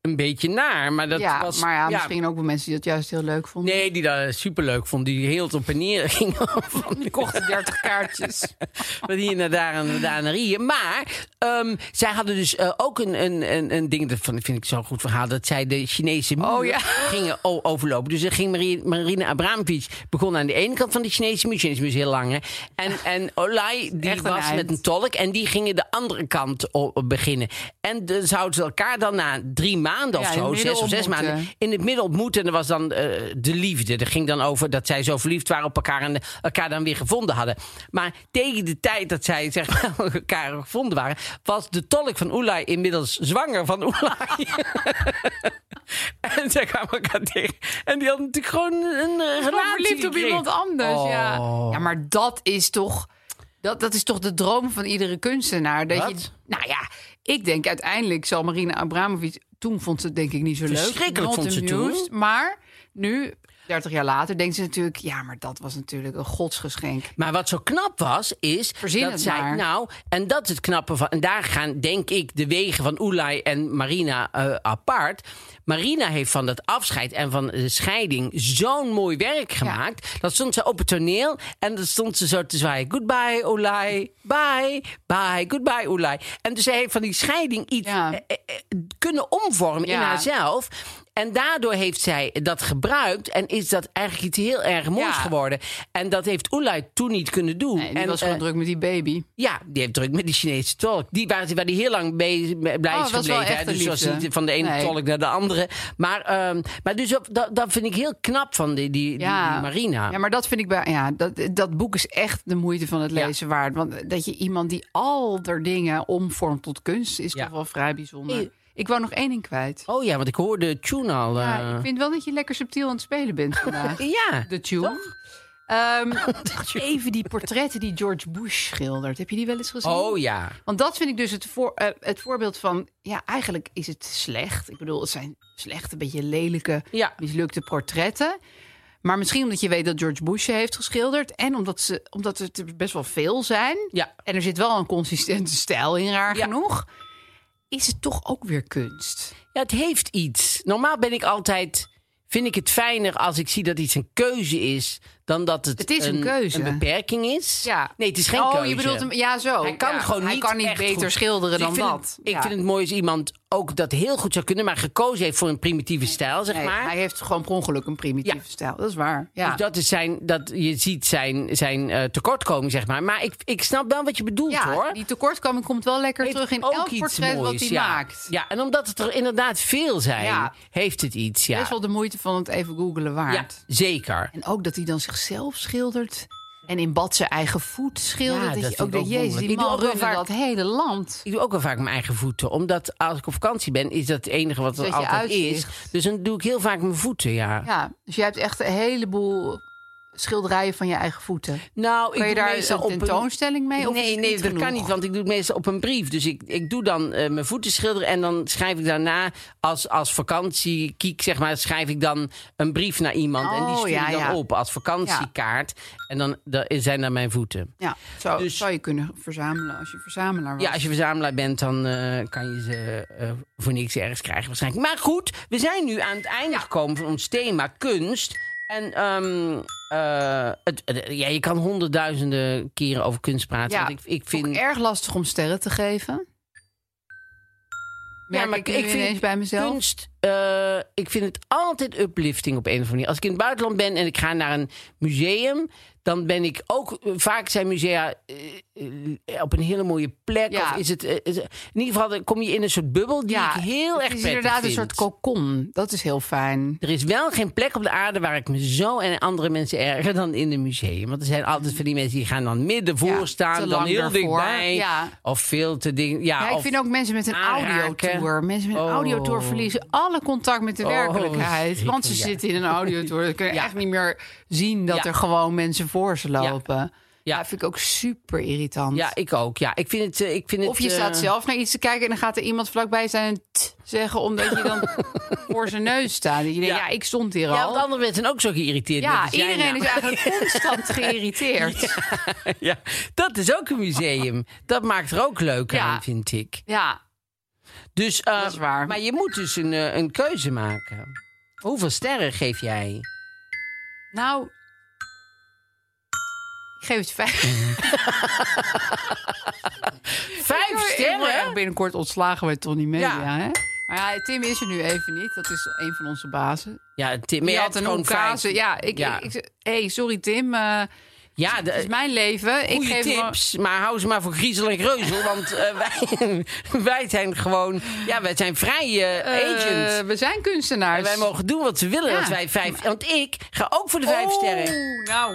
Speaker 2: een beetje naar, maar dat
Speaker 3: Ja,
Speaker 2: was...
Speaker 3: maar ja, misschien ook wel mensen die dat juist heel leuk vonden.
Speaker 2: Nee, die dat superleuk vond. Die heel te panieren *laughs* ging. Van,
Speaker 3: *laughs* Die kochten
Speaker 2: *laughs*
Speaker 3: 30 kaartjes.
Speaker 2: van hier naar daar en daar naar hier. Maar ehm, zij hadden dus eh, ook een, een, een, een ding... Dat van- vind ik zo'n goed verhaal. Dat zij de Chinese muur
Speaker 3: Oh, ja.
Speaker 2: gingen o- overlopen. Dus er ging Marie, Marina Abramovic... begon aan de ene kant van de Chinese muur. Chinese muur is heel lang, hè. En, en Olai, die
Speaker 3: Echt een
Speaker 2: was
Speaker 3: eind.
Speaker 2: met een tolk. En die gingen de andere kant o- beginnen. En dan zouden ze elkaar dan na drie maanden
Speaker 3: Ja,
Speaker 2: of
Speaker 3: in
Speaker 2: zo...
Speaker 3: het eh. midden
Speaker 2: zes of zes
Speaker 3: ontmoeten.
Speaker 2: maanden in het midden ontmoet. En er was dan eh, de liefde. Dat ging dan over dat zij zo verliefd waren op elkaar en eh, elkaar dan weer gevonden hadden. Maar tegen de tijd dat zij zeg maar, *laughs* elkaar gevonden waren, was de tolk van Oelai inmiddels zwanger van Oelai. *laughs* en zij kwamen elkaar tegen. En die had natuurlijk gewoon een eh, relatie.
Speaker 3: Gewoon verliefd op
Speaker 2: gekregen.
Speaker 3: iemand anders. Ja.
Speaker 2: Oh.
Speaker 3: ja, maar dat is toch. Dat, dat is toch de droom van iedere kunstenaar. Dat Je,
Speaker 2: Wat?
Speaker 3: nou ja, ik denk uiteindelijk zal Marina Abramovic. Toen vond ze het denk ik niet zo leuk.
Speaker 2: Verschrikkelijk
Speaker 3: Not
Speaker 2: vond ze
Speaker 3: amused. Maar nu, 30 jaar later, denkt ze natuurlijk. Ja, maar dat was natuurlijk een godsgeschenk.
Speaker 2: Maar wat zo knap was, is
Speaker 3: Verzin
Speaker 2: dat
Speaker 3: het
Speaker 2: zij.
Speaker 3: maar.
Speaker 2: Nou, en dat is het knappe van. En daar gaan, denk ik, de wegen van Oelai en Marina eh, apart. Marina heeft van dat afscheid en van de scheiding zo'n mooi werk gemaakt. Dat stond ze op het toneel en dan stond ze zo te zwaaien. Goodbye, Oelai. Bye, bye, goodbye, Oelai. En dus zij heeft van die scheiding iets
Speaker 3: Ja.
Speaker 2: eh, eh, eh, kunnen omvormen in
Speaker 3: Ja.
Speaker 2: haarzelf. Nou, En daardoor heeft zij dat gebruikt en is dat eigenlijk iets heel erg moois
Speaker 3: Ja.
Speaker 2: geworden. En dat heeft Oelai toen niet kunnen doen.
Speaker 3: Nee, die
Speaker 2: en,
Speaker 3: was gewoon
Speaker 2: eh,
Speaker 3: druk met die baby.
Speaker 2: ja, die heeft druk met die Chinese tolk. Die waar, waar die heel lang mee, mee- blij is
Speaker 3: Oh, dat was wel
Speaker 2: gebleven. hè.
Speaker 3: echt een
Speaker 2: Dus was
Speaker 3: liefde.
Speaker 2: niet van de ene
Speaker 3: Nee.
Speaker 2: tolk naar de andere. Maar, ehm, maar dus op- dat, dat vind ik heel knap van die, die, die- die Marina.
Speaker 3: Ja, maar dat vind ik bij. Ja, dat, dat boek is echt de moeite van het
Speaker 2: Ja.
Speaker 3: lezen waard. Want dat je iemand die al der dingen omvormt tot kunst, is
Speaker 2: Ja.
Speaker 3: toch wel vrij bijzonder.
Speaker 2: Ik-
Speaker 3: Ik, wou nog één ding kwijt.
Speaker 2: Oh ja, want ik hoorde Tune al. eh,
Speaker 3: Ja, ik vind wel dat je lekker subtiel aan het spelen
Speaker 2: *laughs*
Speaker 3: bent vandaag.
Speaker 2: ja.
Speaker 3: De tune.
Speaker 2: *laughs*
Speaker 3: Ehm, even die portretten die George Bush schildert. Heb je die wel eens gezien?
Speaker 2: Oh ja.
Speaker 3: Want dat vind ik dus het, voor, eh, het voorbeeld van. Ja, eigenlijk is het slecht. Ik bedoel, het zijn slechte, beetje lelijke,
Speaker 2: Ja.
Speaker 3: mislukte portretten. Maar misschien omdat je weet dat George Bush ze heeft geschilderd. En omdat, ze, omdat het er best wel veel zijn.
Speaker 2: Ja.
Speaker 3: En er zit wel een consistente stijl in, raar
Speaker 2: Ja.
Speaker 3: genoeg. Is het toch ook weer kunst?
Speaker 2: Ja, het heeft iets. Normaal ben ik altijd. Vind ik het fijner als ik zie dat iets een keuze is. dan dat het,
Speaker 3: Het is een keuze.
Speaker 2: een beperking is.
Speaker 3: Ja.
Speaker 2: Nee, het is geen
Speaker 3: oh,
Speaker 2: keuze.
Speaker 3: je bedoelt hem. Ja, zo.
Speaker 2: Hij kan
Speaker 3: Ja,
Speaker 2: gewoon niet,
Speaker 3: Hij kan niet
Speaker 2: echt
Speaker 3: beter
Speaker 2: goed.
Speaker 3: schilderen
Speaker 2: Dus
Speaker 3: dan
Speaker 2: ik vind
Speaker 3: dat.
Speaker 2: Het, ik
Speaker 3: Ja.
Speaker 2: vind het mooi als iemand ook dat heel goed zou kunnen, maar gekozen heeft voor een primitieve stijl, zeg
Speaker 3: Nee,
Speaker 2: maar.
Speaker 3: Hij heeft gewoon per ongeluk een primitieve
Speaker 2: Ja.
Speaker 3: stijl. Dat is waar. Ja.
Speaker 2: Dus dat is zijn, dat je ziet zijn, zijn eh, tekortkoming, zeg maar. Maar ik, ik snap wel wat je bedoelt,
Speaker 3: ja,
Speaker 2: hoor.
Speaker 3: die tekortkoming komt wel lekker
Speaker 2: Heeft
Speaker 3: terug in
Speaker 2: ook
Speaker 3: elk
Speaker 2: iets
Speaker 3: portret wat
Speaker 2: moois,
Speaker 3: hij
Speaker 2: ja.
Speaker 3: maakt.
Speaker 2: Ja, en omdat het er inderdaad veel zijn,
Speaker 3: Ja. Dus
Speaker 2: heeft het iets, ja.
Speaker 3: Best wel de moeite van het even googelen
Speaker 2: ja,
Speaker 3: waard.
Speaker 2: zeker.
Speaker 3: En ook dat hij dan zichzelf schildert. En in bad zijn eigen voet schildert.
Speaker 2: Ja,
Speaker 3: dat,
Speaker 2: dat
Speaker 3: je
Speaker 2: vind
Speaker 3: ook
Speaker 2: ik
Speaker 3: denkt,
Speaker 2: ook
Speaker 3: jezus,
Speaker 2: wonderlijk.
Speaker 3: die
Speaker 2: Ik doe
Speaker 3: man
Speaker 2: ook wel
Speaker 3: runt
Speaker 2: vaak-
Speaker 3: dat hele land.
Speaker 2: Ik doe ook wel vaak mijn eigen voeten. Omdat als ik op vakantie ben, is dat het enige wat er
Speaker 3: Dat je
Speaker 2: altijd is.
Speaker 3: uitzicht.
Speaker 2: Dus dan doe ik heel vaak mijn voeten, ja.
Speaker 3: Ja, dus jij hebt echt een heleboel schilderijen van je eigen voeten.
Speaker 2: Nou,
Speaker 3: Kun je
Speaker 2: doe
Speaker 3: daar
Speaker 2: meestal
Speaker 3: een tentoonstelling mee? of is
Speaker 2: nee,
Speaker 3: het
Speaker 2: nee,
Speaker 3: niet
Speaker 2: dat kan
Speaker 3: genoeg?
Speaker 2: niet, want ik doe het meestal op een brief. Dus ik, ik doe dan eh, mijn voeten schilderen en dan schrijf ik daarna als, als vakantiekiek, zeg maar, schrijf ik dan een brief naar iemand. en die
Speaker 3: Oh,
Speaker 2: stuur
Speaker 3: ja,
Speaker 2: ik dan
Speaker 3: ja.
Speaker 2: open als vakantiekaart. En dan da- zijn daar mijn voeten.
Speaker 3: Ja, zo
Speaker 2: Dus-
Speaker 3: zou je kunnen verzamelen als je verzamelaar was.
Speaker 2: Ja, als je verzamelaar bent, dan eh, kan je ze eh, voor niks ergens krijgen waarschijnlijk. Maar goed, we zijn nu aan het einde gekomen van ons thema kunst. En ehm, eh, het, het- ja, je kan honderdduizenden keren over kunst praten.
Speaker 3: Ja,
Speaker 2: want ik, ik
Speaker 3: Vond
Speaker 2: vind...
Speaker 3: ik erg lastig om sterren te geven. Merk
Speaker 2: maar
Speaker 3: ik, nu
Speaker 2: ik vind
Speaker 3: ineens bij mezelf.
Speaker 2: Kunst, eh, ik vind het altijd uplifting op een of andere manier. Als ik in het buitenland ben en ik ga naar een museum, dan ben ik ook eh, vaak zijn musea eh, eh, op een hele mooie plek.
Speaker 3: Ja.
Speaker 2: Of is het, eh, is- in ieder geval dan kom je in een soort bubbel die ik heel
Speaker 3: het
Speaker 2: erg
Speaker 3: is
Speaker 2: prettig
Speaker 3: inderdaad
Speaker 2: vind.
Speaker 3: een soort kokon. Dat is heel fijn.
Speaker 2: Er is wel geen plek op de aarde waar ik me zo en andere mensen erger dan in een museum. Want er zijn altijd van die mensen die gaan dan midden voor
Speaker 3: te
Speaker 2: staan, dan
Speaker 3: lang
Speaker 2: heel
Speaker 3: ervoor.
Speaker 2: dichtbij.
Speaker 3: Ja.
Speaker 2: Of veel te ding. Ja,
Speaker 3: Ja, ik
Speaker 2: of-
Speaker 3: vind ook mensen met een
Speaker 2: aanraken.
Speaker 3: audiotour. Mensen met een
Speaker 2: Oh.
Speaker 3: audiotour verliezen alle contact met de
Speaker 2: Oh,
Speaker 3: werkelijkheid.
Speaker 2: zeker,
Speaker 3: Want ze
Speaker 2: ja.
Speaker 3: zitten in een audiotour. Ze kunnen
Speaker 2: Ja.
Speaker 3: echt niet meer zien dat
Speaker 2: Ja.
Speaker 3: er gewoon mensen voor ze lopen. Ja.
Speaker 2: Ja.
Speaker 3: vind ik ook super irritant.
Speaker 2: ja, ik ook. Ja, ik vind het. eh, Ik vind het
Speaker 3: Of je
Speaker 2: eh,
Speaker 3: staat zelf naar iets te kijken en dan gaat er iemand vlakbij zijn en t zeggen omdat je
Speaker 2: *laughs*
Speaker 3: dan voor zijn neus staat. Dat je denkt,
Speaker 2: Ja.
Speaker 3: ja. ik stond hier
Speaker 2: Ja,
Speaker 3: al.
Speaker 2: want andere mensen zijn ook zo geïrriteerd.
Speaker 3: Ja,
Speaker 2: met de zijn
Speaker 3: iedereen is
Speaker 2: nou. *laughs*
Speaker 3: eigenlijk constant geïrriteerd. Ja.
Speaker 2: ja, dat is ook een museum. Dat maakt er ook leuk
Speaker 3: Ja.
Speaker 2: aan, vind ik. Dus, eh,
Speaker 3: Dat is waar.
Speaker 2: Maar je moet dus een, eh, een keuze maken. Hoeveel sterren geef jij?
Speaker 3: nou. Ik geef het
Speaker 2: *laughs*
Speaker 3: vijf.
Speaker 2: Vijf
Speaker 3: Ik word echt
Speaker 2: sterren?
Speaker 3: binnenkort ontslagen bij Tony Media.
Speaker 2: Ja.
Speaker 3: Hè? Maar ja, Tim is er nu even niet. Dat is een van onze bazen.
Speaker 2: Ja, Tim, maar je
Speaker 3: Die had
Speaker 2: had
Speaker 3: een
Speaker 2: gewoon
Speaker 3: oekase.
Speaker 2: vijf.
Speaker 3: Ja, ik,
Speaker 2: Ja.
Speaker 3: ik, ik- hey, sorry Tim. eh,
Speaker 2: Ja, de,
Speaker 3: het is mijn leven. Ik
Speaker 2: goede
Speaker 3: geef hem-
Speaker 2: tips, maar hou ze maar voor griezel en greuzel. Want eh, *laughs* wij, wij zijn gewoon... Ja, wij zijn vrije
Speaker 3: Eh,
Speaker 2: agents.
Speaker 3: we zijn kunstenaars.
Speaker 2: En wij mogen doen wat ze willen
Speaker 3: Ja. Oh.
Speaker 2: als wij vijf... Want ik ga ook voor de vijf sterren.
Speaker 3: Oeh, nou.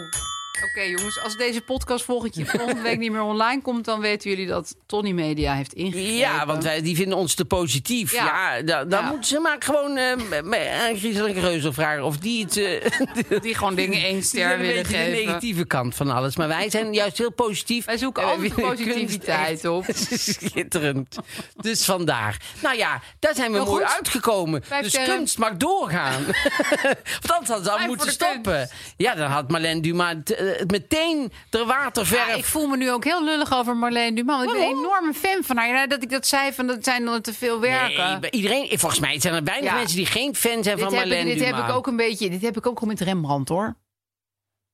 Speaker 3: Oké jongens, als deze podcast volgend jaar- volgende week niet meer online komt... dan weten jullie dat Tony Media heeft ingegrepen.
Speaker 2: Ja, want wij, die vinden ons te positief. Ja,
Speaker 3: Ja.
Speaker 2: da- dan
Speaker 3: Ja.
Speaker 2: moeten ze maar gewoon eh aan Griezel en Greuzel vragen of die het... eh, *laughs*
Speaker 3: Die gewoon dingen één
Speaker 2: die
Speaker 3: ster
Speaker 2: hebben een
Speaker 3: willen
Speaker 2: beetje de
Speaker 3: geven.
Speaker 2: negatieve kant van alles. Maar wij zijn juist heel positief.
Speaker 3: Wij zoeken
Speaker 2: En wij
Speaker 3: altijd
Speaker 2: vinden kunst
Speaker 3: positiviteit op.
Speaker 2: echt *laughs* Schitterend. Dus vandaar. Nou ja, daar zijn we
Speaker 3: Maar
Speaker 2: mooi
Speaker 3: goed.
Speaker 2: uitgekomen.
Speaker 3: Vijf
Speaker 2: dus
Speaker 3: sterren.
Speaker 2: kunst mag doorgaan. *laughs* Want anders hadden ze al
Speaker 3: Vijf
Speaker 2: moeten
Speaker 3: voor de
Speaker 2: stoppen. Ja, dan had Marlène Dumas het, eh, het meteen er waterverf.
Speaker 3: Ja, ik voel me nu ook heel lullig over Marleen Duman. want Ik ben een
Speaker 2: Waarom?
Speaker 3: enorme fan van haar. Ja, dat ik dat zei, van dat zijn dan te veel werken.
Speaker 2: Nee, bij iedereen, volgens mij zijn er weinig
Speaker 3: Ja.
Speaker 2: mensen die geen fan zijn
Speaker 3: dit
Speaker 2: van
Speaker 3: heb, ik,
Speaker 2: Marlène
Speaker 3: dit heb
Speaker 2: Dumas.
Speaker 3: ik ook een beetje. Dit heb ik ook al met Rembrandt hoor.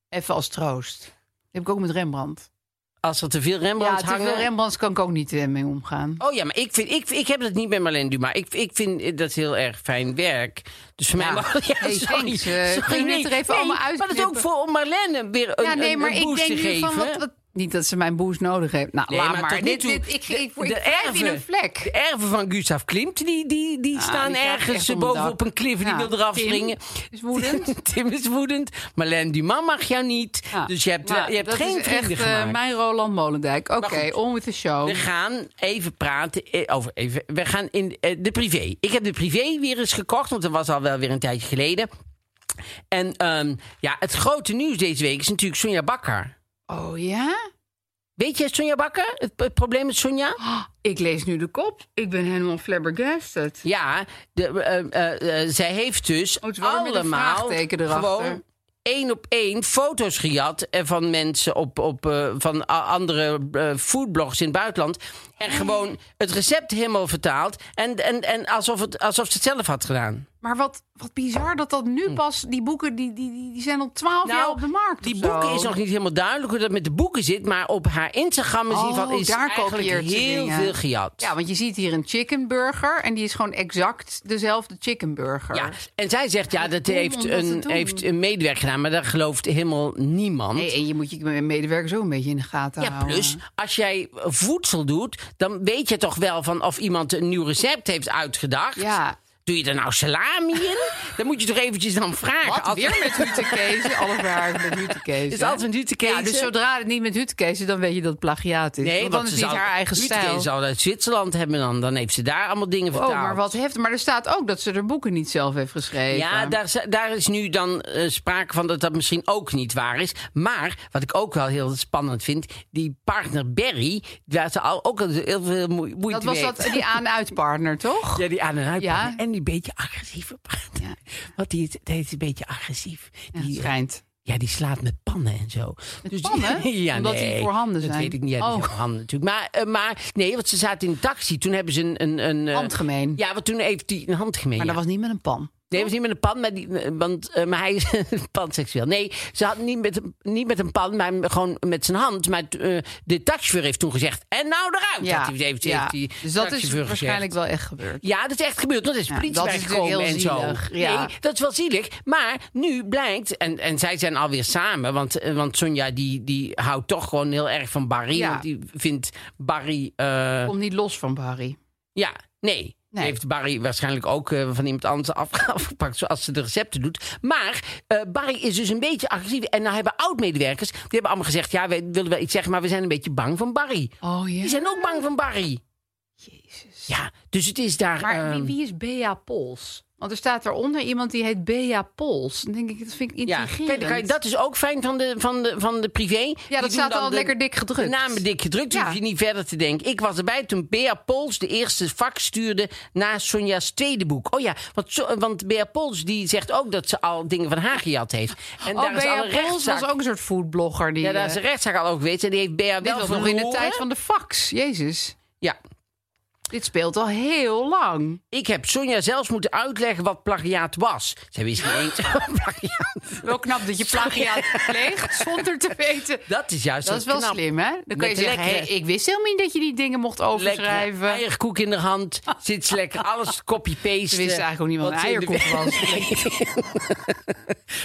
Speaker 3: Even als troost. Dit heb ik ook met Rembrandt.
Speaker 2: Als er te veel
Speaker 3: Ja,
Speaker 2: Rembrandt
Speaker 3: te
Speaker 2: hangen.
Speaker 3: veel Rembrandts kan ik ook niet eh, mee omgaan.
Speaker 2: Oh ja, maar ik, vind, ik, ik heb dat niet bij Marlène Dumas. Ik, ik vind eh, dat heel erg fijn werk. Dus voor
Speaker 3: Ja.
Speaker 2: mij mag... *laughs* Ja,
Speaker 3: Hey,
Speaker 2: sorry.
Speaker 3: thanks, eh,
Speaker 2: Sorry,
Speaker 3: kun je
Speaker 2: nee,
Speaker 3: het er even
Speaker 2: nee,
Speaker 3: allemaal
Speaker 2: Maar dat is ook
Speaker 3: uitknippen?
Speaker 2: voor om Marlène weer een,
Speaker 3: ja,
Speaker 2: een-
Speaker 3: nee, maar
Speaker 2: een
Speaker 3: ik
Speaker 2: boost
Speaker 3: denk
Speaker 2: te
Speaker 3: nu
Speaker 2: geven.
Speaker 3: van wat, wat- Niet dat ze mijn boost nodig heeft. Nou,
Speaker 2: Nee,
Speaker 3: laat
Speaker 2: maar
Speaker 3: maar.
Speaker 2: tot nu
Speaker 3: dit,
Speaker 2: toe-
Speaker 3: dit, ik, ik, ik,
Speaker 2: de
Speaker 3: wrijf in
Speaker 2: erven.
Speaker 3: een vlek.
Speaker 2: De e- erven van Gustav Klimt, die, die, die staan
Speaker 3: Ah, die krijgt
Speaker 2: ergens
Speaker 3: echt om het
Speaker 2: boven
Speaker 3: dak.
Speaker 2: op een klif en
Speaker 3: Ja,
Speaker 2: die wil eraf
Speaker 3: Tim
Speaker 2: springen.
Speaker 3: is woedend.
Speaker 2: *laughs* Tim is woedend. Marlène Dumas mag jou niet.
Speaker 3: Ja,
Speaker 2: Dus je hebt,
Speaker 3: maar
Speaker 2: je hebt
Speaker 3: dat
Speaker 2: geen
Speaker 3: is
Speaker 2: vrienden
Speaker 3: echt, eh,
Speaker 2: gemaakt.
Speaker 3: mijn Roland Molendijk. Oké,
Speaker 2: Maar goed.
Speaker 3: on with the show.
Speaker 2: We gaan even praten eh, over. Even, we gaan in eh, de privé. Ik heb de privé weer eens gekocht, want dat was al wel weer een tijdje geleden. En ehm, ja, het grote nieuws deze week is natuurlijk Sonja Bakker.
Speaker 3: Oh ja?
Speaker 2: Weet jij Sonja Bakker? Het, het probleem met Sonja?
Speaker 3: Ik lees nu de kop. Ik ben helemaal flabbergasted.
Speaker 2: Ja, de, eh, eh, eh, zij heeft dus
Speaker 3: Oh, het is wel weer met een
Speaker 2: allemaal
Speaker 3: vraagteken erachter.
Speaker 2: gewoon één op één foto's gejat eh, van mensen op, op eh, van a- andere eh, foodblogs in het buitenland en gewoon het recept helemaal vertaald en, en, en alsof, het, alsof ze het zelf had gedaan.
Speaker 3: Maar wat, wat bizar dat dat nu pas... Die boeken die, die, die, die zijn al twaalf jaar op de markt.
Speaker 2: Hm. Nou, Die
Speaker 3: of zo.
Speaker 2: boeken is nog niet helemaal duidelijk hoe dat met de boeken zit, maar op haar Instagram is in ieder geval
Speaker 3: Oh,
Speaker 2: is
Speaker 3: daar
Speaker 2: eigenlijk
Speaker 3: kopieert ze
Speaker 2: heel
Speaker 3: dingen.
Speaker 2: veel gejat.
Speaker 3: Ja, want je ziet hier een chickenburger. En die is gewoon exact dezelfde chickenburger.
Speaker 2: Ja, en zij zegt ja, dat
Speaker 3: dom om
Speaker 2: heeft
Speaker 3: dat te
Speaker 2: een,
Speaker 3: doen.
Speaker 2: heeft een medewerker gedaan, maar daar gelooft helemaal niemand.
Speaker 3: Nee, en je moet je medewerker zo een beetje in de gaten
Speaker 2: Ja,
Speaker 3: houden.
Speaker 2: plus als jij eh, voedsel doet, dan weet je toch wel van of iemand een nieuw recept heeft uitgedacht.
Speaker 3: Ja.
Speaker 2: Doe je er nou salami
Speaker 3: *laughs*
Speaker 2: in? Dan moet je toch eventjes dan vragen.
Speaker 3: Wat,
Speaker 2: Altijd-
Speaker 3: weer met hutekezen?
Speaker 2: *laughs*
Speaker 3: Alles waar met hutekezen.
Speaker 2: Het is altijd een hutekezen.
Speaker 3: Ja, dus zodra het niet met hutekezen, dan weet je dat het plagiaat is.
Speaker 2: Nee,
Speaker 3: want
Speaker 2: want
Speaker 3: dan
Speaker 2: ze
Speaker 3: is het niet
Speaker 2: zal-
Speaker 3: haar eigen
Speaker 2: Lutke
Speaker 3: stijl.
Speaker 2: zal uit Zwitserland hebben dan. Dan heeft ze daar allemaal dingen vertaald.
Speaker 3: Oh, maar wat heftig. Maar er staat ook dat ze de boeken niet zelf heeft geschreven.
Speaker 2: Ja, daar, z- daar is nu dan eh, sprake van dat dat misschien ook niet waar is. Maar wat ik ook wel heel spannend vind, die partner Barry, daar ze al ook al heel veel moe- moeite
Speaker 3: dat was
Speaker 2: mee
Speaker 3: dat,
Speaker 2: heeft.
Speaker 3: die aan-uitpartner, toch?
Speaker 2: Ja, die aan en uit
Speaker 3: Ja.
Speaker 2: partner. En die beetje agressieve partner.
Speaker 3: Ja.
Speaker 2: *laughs* Want die, is- die is een beetje agressief.
Speaker 3: Ja,
Speaker 2: die,
Speaker 3: schijnt.
Speaker 2: ja, die slaat met pannen en zo. Met
Speaker 3: pannen?
Speaker 2: *laughs* ja,
Speaker 3: Omdat die
Speaker 2: nee,
Speaker 3: voorhanden
Speaker 2: Dat
Speaker 3: zijn.
Speaker 2: weet ik niet. Ja, die
Speaker 3: Oh.
Speaker 2: zijn voorhanden natuurlijk. Maar, eh, maar nee, want ze zaten in de taxi. Toen hebben ze een... een, een eh,
Speaker 3: Handgemeen.
Speaker 2: Ja, want toen heeft hij een hand gemeen.
Speaker 3: Maar
Speaker 2: ja.
Speaker 3: dat was niet met een pan.
Speaker 2: Nee, het was niet met een pan, maar, die, want, eh, maar hij is *laughs* panseksueel. Nee, ze had niet met, een- niet met een pan, maar gewoon met zijn hand. Maar eh, de taxichauffeur heeft toen gezegd, en nou eruit.
Speaker 3: Ja,
Speaker 2: Had hij, heeft,
Speaker 3: ja.
Speaker 2: heeft die
Speaker 3: dus dat is
Speaker 2: taxichauffeur
Speaker 3: waarschijnlijk
Speaker 2: gezegd.
Speaker 3: wel echt gebeurd.
Speaker 2: Ja, dat is echt gebeurd. Dat is
Speaker 3: Ja,
Speaker 2: politie
Speaker 3: dat is
Speaker 2: bijgekomen
Speaker 3: natuurlijk heel
Speaker 2: en zo.
Speaker 3: zielig, ja.
Speaker 2: Nee, dat is wel zielig. Maar nu blijkt, en, en zij zijn alweer samen, want, eh, want Sonja die, die houdt toch gewoon heel erg van Barry.
Speaker 3: Ja.
Speaker 2: Want die vindt Barry... eh,
Speaker 3: Komt niet los van Barry.
Speaker 2: ja, nee.
Speaker 3: Nee.
Speaker 2: Heeft Barry waarschijnlijk ook eh, van iemand anders *laughs* af- afgepakt, zoals ze de recepten doet. Maar eh, Barry is dus een beetje agressief. En nou hebben oud-medewerkers, die hebben allemaal gezegd: ja, we willen wel iets zeggen, maar we zijn een beetje bang van Barry.
Speaker 3: Oh ja.
Speaker 2: Die zijn ook bang van Barry.
Speaker 3: Jezus.
Speaker 2: Ja, dus het is daar.
Speaker 3: Maar wie,
Speaker 2: ehm,
Speaker 3: wie is Bea Pols? Want er staat daaronder iemand die heet Bea Pols. Dan denk ik, dat vind ik
Speaker 2: ja,
Speaker 3: intrigerend.
Speaker 2: kijk, dan kan je- dat is ook fijn van de, van de, van de privé. Die doen
Speaker 3: dat staat
Speaker 2: dan
Speaker 3: al
Speaker 2: de-
Speaker 3: lekker dik gedrukt.
Speaker 2: De namen dik gedrukt, dus
Speaker 3: Ja.
Speaker 2: hoef je niet verder te denken. Ik was erbij toen Bea Pols de eerste vak stuurde naar Sonja's tweede boek. Oh ja, want, Zo- want Bea Pols die zegt ook dat ze al dingen van haar gejat heeft. En
Speaker 3: oh,
Speaker 2: daar is al een
Speaker 3: Bea Pols
Speaker 2: rechtszaak.
Speaker 3: was ook een soort foodblogger. Die,
Speaker 2: Ja, daar
Speaker 3: eh,
Speaker 2: is een rechtszaak al over geweest. En die heeft Bea
Speaker 3: Dit
Speaker 2: wel
Speaker 3: was nog in de
Speaker 2: verloren.
Speaker 3: tijd van de fax. Jezus.
Speaker 2: Ja.
Speaker 3: Dit speelt al heel lang.
Speaker 2: Ik heb Sonja zelfs moeten uitleggen wat plagiaat was. Zij wist
Speaker 3: *laughs*
Speaker 2: niet eens wat plagiaat
Speaker 3: Wel knap dat je plagiaat *laughs* pleegt zonder te weten.
Speaker 2: Dat is juist
Speaker 3: Dat
Speaker 2: zo
Speaker 3: is wel
Speaker 2: knap.
Speaker 3: slim, hè? Dan
Speaker 2: Met
Speaker 3: kun je
Speaker 2: de
Speaker 3: zeggen,
Speaker 2: lekkere-
Speaker 3: hé, ik wist helemaal niet dat je die dingen mocht
Speaker 2: Lekker
Speaker 3: overschrijven.
Speaker 2: eierkoek in de hand. Zit ze lekker alles copy-paste.
Speaker 3: Ze wisten eigenlijk ook niet wat een *laughs* eierkoek
Speaker 2: *laughs*
Speaker 3: was.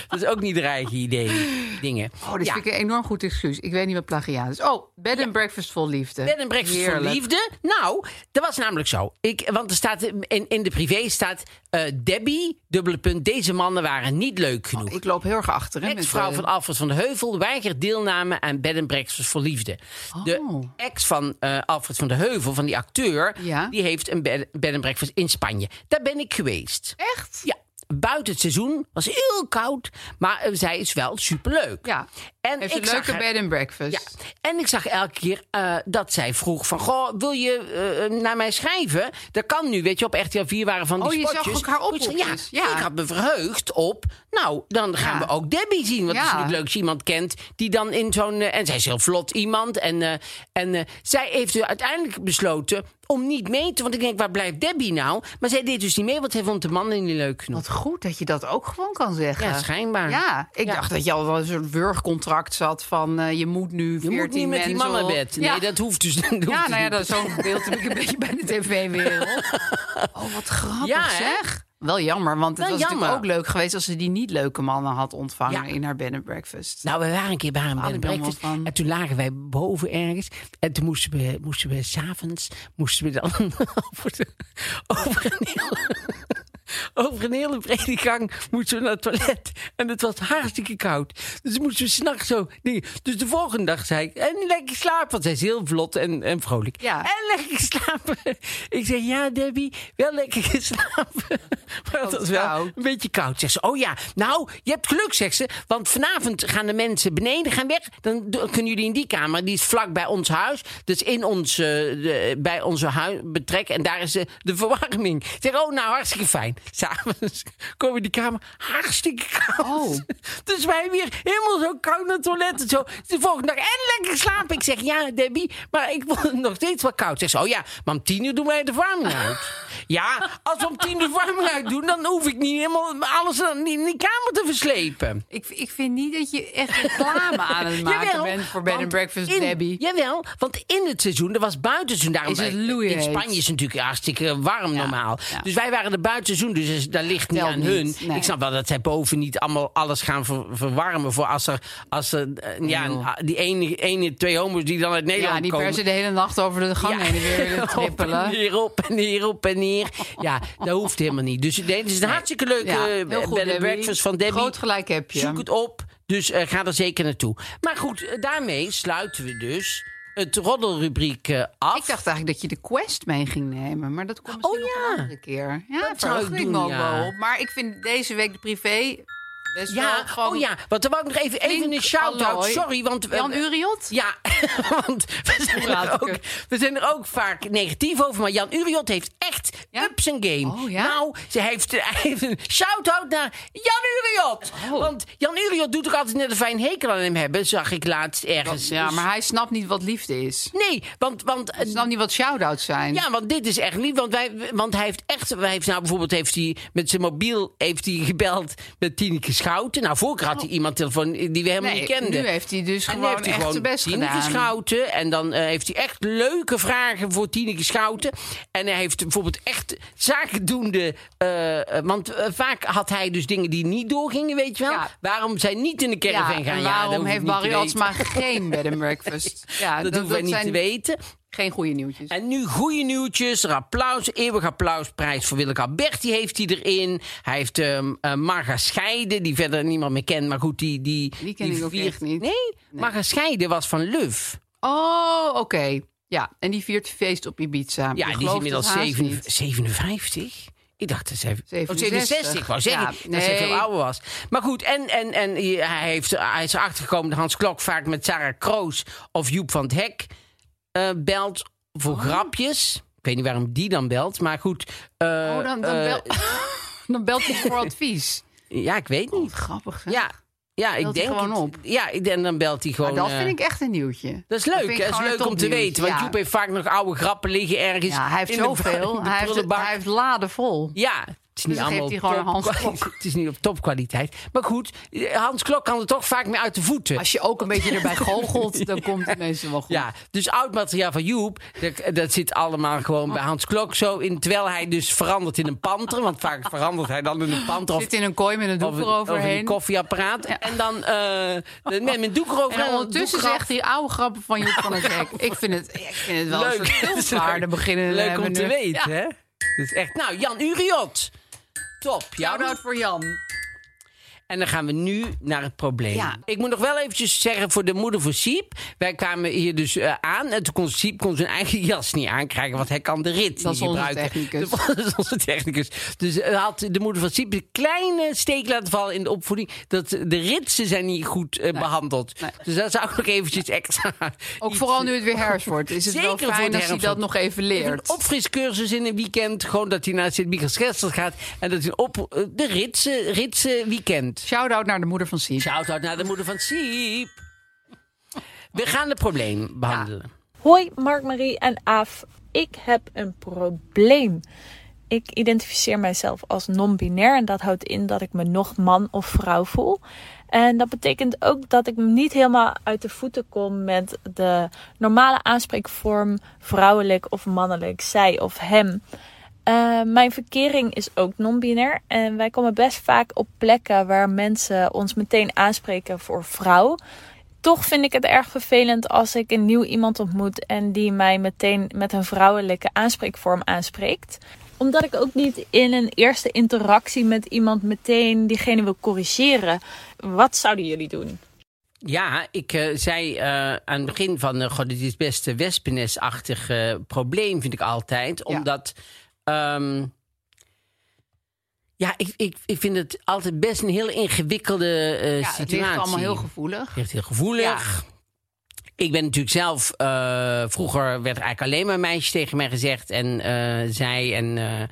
Speaker 2: Dat is ook niet haar eigen idee. Dingen.
Speaker 3: Oh, dit
Speaker 2: Ja.
Speaker 3: vind ik een enorm goed excuus. Ik weet niet wat plagiaat is. Oh, bed and breakfast vol liefde.
Speaker 2: Bed en breakfast voor
Speaker 3: Heerlijk.
Speaker 2: liefde. Nou, dat was namelijk zo. Ik, want er staat in, in de privé staat eh, Debbie, dubbele punt, deze mannen waren niet leuk genoeg.
Speaker 3: Oh, Ik loop heel erg achter. hè, met,
Speaker 2: Ex-vrouw
Speaker 3: eh,
Speaker 2: van Alfred van de Heuvel weigert deelname aan Bed and Breakfast voor Liefde.
Speaker 3: Oh.
Speaker 2: De ex van eh, Alfred van de Heuvel, van die acteur,
Speaker 3: Ja.
Speaker 2: die heeft een bed, bed and Breakfast in Spanje. Daar ben ik geweest.
Speaker 3: Echt?
Speaker 2: Ja, buiten het seizoen. Was heel koud, maar eh, zij is wel superleuk.
Speaker 3: Ja.
Speaker 2: En
Speaker 3: Heeft een
Speaker 2: ik zag
Speaker 3: leuke
Speaker 2: haar-
Speaker 3: bed and breakfast.
Speaker 2: ja, en ik zag elke keer eh, dat zij vroeg van... Goh, wil je eh, naar mij schrijven? Dat kan nu, weet je, op RTL 4 waren van die
Speaker 3: Oh, je zag
Speaker 2: spotjes.
Speaker 3: ook haar oproepjes.
Speaker 2: Ja,
Speaker 3: Ja.
Speaker 2: ik had me verheugd op... Nou, dan gaan
Speaker 3: Ja.
Speaker 2: we ook Debbie zien. Want het
Speaker 3: Ja.
Speaker 2: is niet leuk als je iemand kent die dan in zo'n... eh, en zij is heel vlot iemand. En, eh, en eh, zij heeft dus uiteindelijk besloten om niet mee te... Want ik denk, waar blijft Debbie nou? Maar zij deed dus niet mee, want zij vond de mannen niet leuk genoeg.
Speaker 3: Wat goed dat je dat ook gewoon kan zeggen.
Speaker 2: Ja, schijnbaar.
Speaker 3: Ja, ik
Speaker 2: Ja.
Speaker 3: dacht dat je al wel een soort wurgcontract zat van eh, je moet nu 14
Speaker 2: Je moet niet met die
Speaker 3: mensen
Speaker 2: man naar
Speaker 3: op-
Speaker 2: bed. Nee,
Speaker 3: ja.
Speaker 2: dat hoeft dus *laughs* dat hoeft
Speaker 3: Ja,
Speaker 2: dus
Speaker 3: nou ja,
Speaker 2: niet.
Speaker 3: dat is zo'n beeld heb ik een *laughs* beetje bij de
Speaker 2: *laughs*
Speaker 3: tv-wereld. Oh, wat grappig
Speaker 2: Ja, hè?
Speaker 3: zeg. Wel jammer, want het
Speaker 2: Wel
Speaker 3: was natuurlijk ook
Speaker 2: jammer.
Speaker 3: leuk geweest... als ze die niet leuke mannen had ontvangen
Speaker 2: Ja.
Speaker 3: in haar bed and breakfast.
Speaker 2: Nou, we waren een keer bij hem bij de
Speaker 3: ik allemaal
Speaker 2: breakfast.
Speaker 3: van.
Speaker 2: En toen lagen wij boven ergens. En toen moesten we, moesten we s'avonds, moesten we dan *laughs* over, de- over een hele, over een hele brede gang moesten we naar het toilet. En het was hartstikke koud. Dus moesten we s'nachts zo dingen. Dus de volgende dag zei ik, en lekker slapen. Want zij is heel vlot en, en vrolijk.
Speaker 3: Ja.
Speaker 2: En lekker slapen. *laughs* Ik zei, ja Debbie, wel lekker *laughs* geslapen. Maar dat
Speaker 3: het
Speaker 2: was
Speaker 3: is
Speaker 2: wel
Speaker 3: koud.
Speaker 2: een beetje koud, zegt ze. Oh ja, nou, je hebt geluk, zegt ze. Want vanavond gaan de mensen beneden gaan weg. Dan do- kunnen jullie in die kamer, die is vlak bij ons huis. Dus in ons, eh, de- bij onze huis betrek. En daar is eh, de verwarming. Ik zeg, oh nou, hartstikke fijn. *laughs* S'avonds komen we die kamer hartstikke koud.
Speaker 3: Oh.
Speaker 2: *laughs* Dus wij weer helemaal zo koud naar het toilet en zo. De volgende dag, en lekker slapen. Ik zeg, ja Debbie, maar ik vond het *laughs* nog steeds wel koud. Zegt ze, oh ja, maar om tien uur doen wij de verwarming uit. Ja, als we om tien de verwarming uit doen, dan hoef ik niet helemaal alles in die in die kamer te verslepen.
Speaker 3: Ik, ik vind niet dat je echt reclame
Speaker 2: *laughs*
Speaker 3: aan het
Speaker 2: Nou.
Speaker 3: maken
Speaker 2: Jawel,
Speaker 3: bent voor bed
Speaker 2: want
Speaker 3: and breakfast,
Speaker 2: in-
Speaker 3: Debbie.
Speaker 2: Jawel, want in het seizoen, er was buitenseizoen. Daarom
Speaker 3: Is het
Speaker 2: In
Speaker 3: loeiheet.
Speaker 2: Spanje is het natuurlijk hartstikke warm normaal.
Speaker 3: ja.
Speaker 2: Dus wij waren er buitenseizoen, dus is- daar ligt niet
Speaker 3: Telt
Speaker 2: aan
Speaker 3: niet,
Speaker 2: hun.
Speaker 3: nee.
Speaker 2: Ik snap wel dat zij boven niet allemaal alles gaan ver- verwarmen voor als er, als er eh, ja, die ene, ene, twee homo's die dan uit Nederland
Speaker 3: Ja, die
Speaker 2: komen. *laughs*
Speaker 3: persen de hele nacht over de gang heen en weer willen
Speaker 2: Op en
Speaker 3: trippelen.
Speaker 2: neer, op en neer, op en neer. meer. Ja, dat hoeft helemaal niet. Dus, nee, het is een hartstikke leuke
Speaker 3: Ja,
Speaker 2: eh,
Speaker 3: heel
Speaker 2: bed
Speaker 3: goed,
Speaker 2: and
Speaker 3: Debbie.
Speaker 2: breakfast van Debbie.
Speaker 3: Groot gelijk heb je.
Speaker 2: Zoek het op, dus eh, ga er zeker naartoe. Maar goed, eh, daarmee sluiten we dus het roddelrubriek eh, af.
Speaker 3: Ik dacht eigenlijk dat je de quest mee ging nemen, maar dat komt misschien
Speaker 2: Oh,
Speaker 3: nog
Speaker 2: ja.
Speaker 3: een andere keer. Ja,
Speaker 2: Dat
Speaker 3: dat
Speaker 2: zou ik
Speaker 3: zou ik
Speaker 2: doen,
Speaker 3: me ook
Speaker 2: ja.
Speaker 3: wel op. Maar ik vind deze week de privé best
Speaker 2: ja,
Speaker 3: wel gewoon...
Speaker 2: oh ja, want dan wou ik nog even, even
Speaker 3: flink
Speaker 2: een shout-out.
Speaker 3: allooi.
Speaker 2: Sorry, want... eh,
Speaker 3: Jan Uriot?
Speaker 2: Ja, *laughs* want we zijn, er
Speaker 3: laat ik
Speaker 2: ook,
Speaker 3: het?
Speaker 2: we zijn er ook vaak negatief over. Maar Jan Uriot heeft echt
Speaker 3: Ja?
Speaker 2: ups en game.
Speaker 3: Oh, ja?
Speaker 2: Nou, ze heeft, *laughs* hij heeft een shout-out naar Jan Uriot.
Speaker 3: Oh.
Speaker 2: Want Jan Uriot doet toch altijd net een fijn hekel aan hem hebben. Zag ik laatst ergens.
Speaker 3: Ja,
Speaker 2: Dus-
Speaker 3: maar hij snapt niet wat liefde is.
Speaker 2: Nee, want... want eh,
Speaker 3: Hij snapt niet wat shout-outs zijn.
Speaker 2: ja, want dit is echt lief. Want, wij, want hij heeft echt. Hij heeft nou bijvoorbeeld heeft hij met zijn mobiel heeft hij gebeld met Tineke Schouten. Nou, vorige keer had hij iemand telefoon die we helemaal
Speaker 3: Oh. nee,
Speaker 2: niet kenden.
Speaker 3: nu heeft hij dus
Speaker 2: En
Speaker 3: gewoon
Speaker 2: heeft hij
Speaker 3: echt
Speaker 2: gewoon
Speaker 3: zijn best
Speaker 2: Tineke
Speaker 3: gedaan.
Speaker 2: Schouten. En dan eh, heeft hij echt leuke vragen voor Tineke Schouten. En hij heeft bijvoorbeeld echt zakendoende... eh, eh, want eh, vaak had hij dus dingen die niet doorgingen, weet je wel.
Speaker 3: Ja.
Speaker 2: Waarom zij niet in de caravan
Speaker 3: ja,
Speaker 2: gaan.
Speaker 3: en
Speaker 2: ja, dat hoef
Speaker 3: waarom
Speaker 2: ik
Speaker 3: heeft
Speaker 2: niet te
Speaker 3: Barry
Speaker 2: weten.
Speaker 3: Altsma geen bed and breakfast?
Speaker 2: *laughs*
Speaker 3: Ja,
Speaker 2: Dat, hoeven wij niet
Speaker 3: zijn
Speaker 2: te weten.
Speaker 3: Geen goede nieuwtjes.
Speaker 2: En nu goede nieuwtjes. Er applaus, eeuwig applausprijs voor Willeke Alberti heeft hij erin. Hij heeft ehm eh, Marga Scheiden, die verder niemand meer kent. Maar goed, die... Die,
Speaker 3: Die ken ik ook echt niet.
Speaker 2: Nee? Marga Scheiden was van Luf.
Speaker 3: Oh, oké. Ja, en die viert feest op Ibiza. Je
Speaker 2: Ja, die is
Speaker 3: gelooft
Speaker 2: inmiddels
Speaker 3: het haast
Speaker 2: 7
Speaker 3: niet.
Speaker 2: 57. Ik dacht dat ze...
Speaker 3: 67.
Speaker 2: Oh, 67, ik wou zeggen.
Speaker 3: Ja,
Speaker 2: Dat ze
Speaker 3: nee.
Speaker 2: veel ouder was. Maar goed, en, en, en hij, heeft, hij is achtergekomen dat Hans Klok vaak met Sarah Kroos of Joep van het Hek eh, belt
Speaker 3: Oh.
Speaker 2: voor grapjes. Ik weet niet waarom die dan belt, maar goed. eh,
Speaker 3: Oh, dan, dan,
Speaker 2: eh,
Speaker 3: bel-
Speaker 2: *laughs*
Speaker 3: dan belt hij *laughs* voor advies.
Speaker 2: Ja, ik weet
Speaker 3: Wat
Speaker 2: niet.
Speaker 3: grappig. hè?
Speaker 2: Ja, ja ik
Speaker 3: Oh, Belt hij
Speaker 2: denk
Speaker 3: gewoon
Speaker 2: het.
Speaker 3: op?
Speaker 2: Ja, ik- en dan belt hij gewoon...
Speaker 3: Maar dat
Speaker 2: eh,
Speaker 3: vind ik echt een nieuwtje.
Speaker 2: dat is leuk,
Speaker 3: vind ik
Speaker 2: hè? dat is
Speaker 3: gewoon een
Speaker 2: leuk om te
Speaker 3: topnieuws.
Speaker 2: weten. Want
Speaker 3: Ja.
Speaker 2: Joep heeft vaak nog oude grappen liggen ergens.
Speaker 3: Ja, hij heeft
Speaker 2: in de- *laughs* in
Speaker 3: zoveel.
Speaker 2: de
Speaker 3: Hij heeft,
Speaker 2: prullenbak.
Speaker 3: hij heeft laden vol.
Speaker 2: Ja, het is niet
Speaker 3: Dus dan
Speaker 2: allemaal
Speaker 3: geeft hij gewoon
Speaker 2: op
Speaker 3: Hans
Speaker 2: topkwaliteit.
Speaker 3: Klok.
Speaker 2: *laughs* Het is niet op topkwaliteit. Maar goed, eh, Hans Klok kan er toch vaak mee uit de voeten.
Speaker 3: Als je ook een
Speaker 2: *laughs*
Speaker 3: beetje erbij goochelt, dan komt het meestal wel goed.
Speaker 2: Ja, dus oud materiaal van Joep, dat, dat zit allemaal gewoon bij Hans Klok zo in. Terwijl hij dus verandert in een panter. Want
Speaker 3: *laughs*
Speaker 2: vaak verandert hij dan in een panter of,
Speaker 3: Zit in een kooi met een doek
Speaker 2: of, een, of een
Speaker 3: eroverheen.
Speaker 2: koffieapparaat. En dan eh met mijn doek
Speaker 3: En
Speaker 2: eroverheen.
Speaker 3: dan ondertussen
Speaker 2: doek eraf.
Speaker 3: zegt hij oude grappen van Joep van het Hek. Ik vind het, ik vind het wel
Speaker 2: Leuk.
Speaker 3: een
Speaker 2: *laughs*
Speaker 3: soort
Speaker 2: Dat is
Speaker 3: cultwaarde beginnen. eh,
Speaker 2: Leuk om te weten,
Speaker 3: Ja.
Speaker 2: hè? Dat is echt... Nou, Jan Uriot. Top. Jan.
Speaker 3: Shout-out voor Jan.
Speaker 2: En dan gaan we nu naar het probleem.
Speaker 3: Ja.
Speaker 2: Ik moet nog wel eventjes zeggen voor de moeder van Siep. Wij kwamen hier dus eh, aan. En toen kon Siep kon zijn eigen *laughs* jas niet aankrijgen. Want hij kan de rit
Speaker 3: Dat
Speaker 2: niet
Speaker 3: is onze
Speaker 2: gebruiken.
Speaker 3: technicus.
Speaker 2: *laughs* Dat is onze technicus. Dus eh, had de moeder van Siep een kleine steek laten vallen in de opvoeding. Dat de ritsen zijn niet goed eh, behandeld.
Speaker 3: Nee.
Speaker 2: Dus daar zou ik nog eventjes extra...
Speaker 3: Ook
Speaker 2: iets-
Speaker 3: vooral nu het weer herfst wordt. Is het wel
Speaker 2: Zeker voor
Speaker 3: fijn
Speaker 2: het
Speaker 3: als hij
Speaker 2: herfst
Speaker 3: dat nog even
Speaker 2: Even een
Speaker 3: leert.
Speaker 2: opfriscursus in een weekend. Gewoon dat hij naar Sint-Michels-Gersters gaat. En dat hij op eh, de ritsen, ritsen weekend.
Speaker 3: Shout-out naar de moeder van Siep.
Speaker 2: Shout-out naar de moeder van Siep. We gaan het probleem behandelen.
Speaker 4: Hoi Mark, Marie en Aaf. Ik heb een probleem. Ik identificeer mijzelf als non-binair en dat houdt in dat ik me nog man of vrouw voel. En dat betekent ook dat ik me niet helemaal uit de voeten kom met de normale aanspreekvorm vrouwelijk of mannelijk, zij of hem. Eh, mijn verkering is ook non-binair en wij komen best vaak op plekken waar mensen ons meteen aanspreken voor vrouw. Toch vind ik het erg vervelend als ik een nieuw iemand ontmoet en die mij meteen met een vrouwelijke aanspreekvorm aanspreekt. Omdat ik ook niet in een eerste interactie met iemand meteen diegene wil corrigeren. Wat zouden jullie doen?
Speaker 2: Ja, ik eh, zei eh, aan het begin van... eh, god, dit is best een wespennestachtig eh, probleem, vind ik altijd. Omdat... ehm, ja, ik, ik, ik vind het altijd best een heel ingewikkelde eh,
Speaker 3: Ja, het
Speaker 2: situatie.
Speaker 3: ligt allemaal heel gevoelig.
Speaker 2: Echt heel gevoelig. Ik ben natuurlijk zelf... eh, vroeger werd er eigenlijk alleen maar meisjes tegen mij gezegd. En eh, zij en... eh,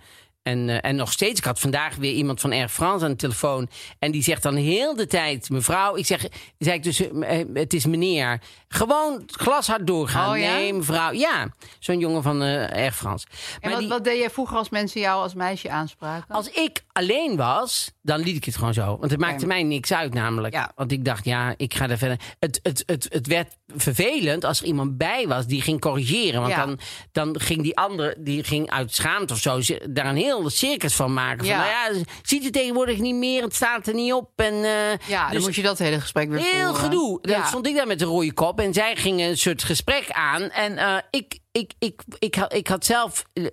Speaker 2: en, eh, en nog steeds, ik had vandaag weer iemand van Air France aan de telefoon. En die zegt dan heel de tijd, mevrouw. Ik zeg, zei ik dus, eh, het is meneer. Gewoon glashard doorgaan.
Speaker 3: Oh ja?
Speaker 2: Nee, mevrouw. Ja, zo'n jongen van eh, Air France.
Speaker 3: En
Speaker 2: Maar
Speaker 3: wat,
Speaker 2: die-
Speaker 3: wat deed jij vroeger als mensen jou als meisje aanspraken?
Speaker 2: als ik alleen was, dan liet ik het gewoon zo. Want het maakte mij niks uit namelijk.
Speaker 3: Ja.
Speaker 2: Want ik dacht, ja, ik ga er verder. Het, het, het, het werd vervelend als er iemand bij was die ging corrigeren. Want
Speaker 3: Ja.
Speaker 2: dan, dan ging die andere, die ging uit schaamte of zo, ze- daar een heel circus van maken.
Speaker 3: Ja.
Speaker 2: Van, nou ja, ziet het tegenwoordig niet meer, het staat er niet op. En, eh,
Speaker 3: ja, dan
Speaker 2: dus
Speaker 3: moet je dat hele gesprek weer
Speaker 2: Heel
Speaker 3: voeren.
Speaker 2: gedoe. Dan
Speaker 3: Ja.
Speaker 2: stond ik daar met de rode kop en zij gingen een soort gesprek aan. En eh, ik, ik, ik, ik, had- ik had zelf eh,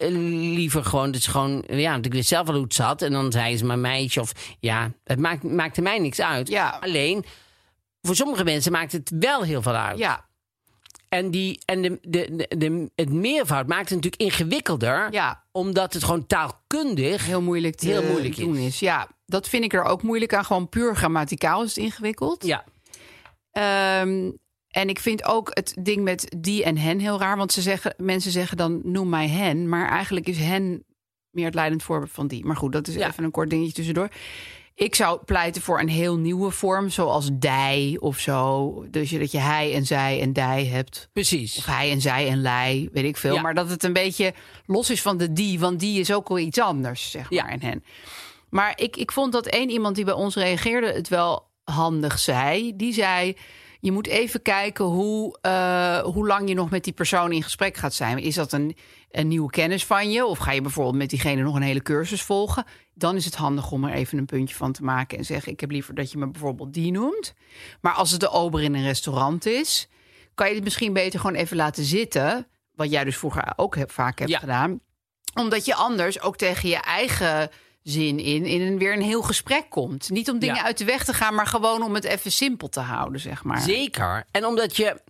Speaker 2: liever gewoon, dus gewoon, ja, want ik wist zelf wel hoe het zat. En dan zei ze maar meisje of ja, het maakt, maakte mij niks uit.
Speaker 3: Ja.
Speaker 2: Alleen, voor sommige mensen maakt het wel heel veel uit.
Speaker 3: Ja,
Speaker 2: En, die, en de, de, de, de- het meervoud maakt het natuurlijk ingewikkelder,
Speaker 3: ja.
Speaker 2: omdat het gewoon taalkundig.
Speaker 3: Heel moeilijk te
Speaker 2: Heel moeilijk
Speaker 3: doen
Speaker 2: is.
Speaker 3: is. Ja, dat vind ik er ook moeilijk aan. Gewoon puur grammaticaal is het ingewikkeld.
Speaker 2: Ja,
Speaker 3: Ehm, en ik vind ook het ding met die en hen heel raar. Want ze zeggen, mensen zeggen dan noem mij hen. Maar eigenlijk is hen meer het leidend voorbeeld van die. Maar goed, dat is
Speaker 2: Ja.
Speaker 3: even een kort dingetje tussendoor. Ik zou pleiten voor een heel nieuwe vorm. Zoals dij of zo. Dus je- dat je hij en zij en dij hebt.
Speaker 2: precies.
Speaker 3: Of hij en zij en lij, weet ik veel.
Speaker 2: Ja.
Speaker 3: Maar dat het een beetje los is van de die. Want die is ook wel iets anders, zeg maar,
Speaker 2: Ja.
Speaker 3: en hen. Maar ik, ik vond dat één iemand die bij ons reageerde het wel handig zei. Die zei, je moet even kijken hoe, eh, hoe lang je nog met die persoon in gesprek gaat zijn. Is dat een, een nieuwe kennis van je? Of ga je bijvoorbeeld met diegene nog een hele cursus volgen? Dan is het handig om er even een puntje van te maken en zeggen... ik heb liever dat je me bijvoorbeeld die noemt. Maar als het de ober in een restaurant is... kan je het misschien beter gewoon even laten zitten... wat jij dus vroeger ook heb, vaak hebt
Speaker 2: Ja.
Speaker 3: gedaan omdat je anders ook tegen je eigen zin in, in een, weer een heel gesprek komt. Niet om dingen
Speaker 2: Ja.
Speaker 3: uit de weg te gaan, maar gewoon om het even simpel te houden, zeg maar.
Speaker 2: Zeker. En omdat je,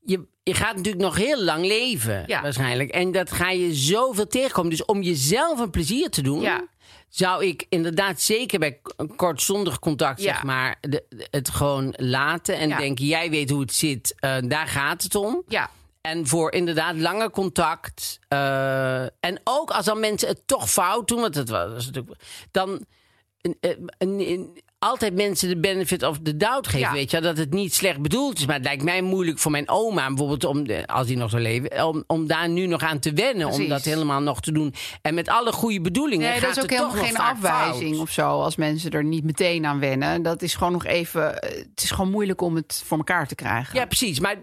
Speaker 2: je. Je gaat natuurlijk nog heel lang leven,
Speaker 3: Ja.
Speaker 2: waarschijnlijk. En dat ga je zoveel tegenkomen. Dus om jezelf een plezier te doen.
Speaker 3: Ja.
Speaker 2: Zou ik inderdaad zeker bij k- een kortzondig contact,
Speaker 3: Ja.
Speaker 2: zeg maar, de- de- het gewoon laten. En
Speaker 3: Ja.
Speaker 2: denken, jij weet hoe het zit, eh, daar gaat het om.
Speaker 3: Ja,
Speaker 2: En voor inderdaad langer contact. eh, en ook als dan mensen het toch fout doen, want dat was dat is natuurlijk. Dan een- een- een- een- altijd mensen de benefit of the doubt geven.
Speaker 3: Ja.
Speaker 2: Weet je, wel, dat het niet slecht bedoeld is. Maar het lijkt mij moeilijk voor mijn oma bijvoorbeeld, om, de- als die nog zou leven, om, om daar nu nog aan te wennen. Om
Speaker 3: Precies.
Speaker 2: dat helemaal nog te doen. En met alle goede bedoelingen.
Speaker 3: nee,
Speaker 2: gaat
Speaker 3: dat is ook
Speaker 2: het
Speaker 3: helemaal
Speaker 2: toch nog
Speaker 3: geen
Speaker 2: vaak
Speaker 3: afwijzing
Speaker 2: fout.
Speaker 3: of zo. Als mensen er niet meteen aan wennen. Dat is gewoon nog even. eh, Het is gewoon moeilijk om het voor elkaar te krijgen.
Speaker 2: Ja, precies. Maar,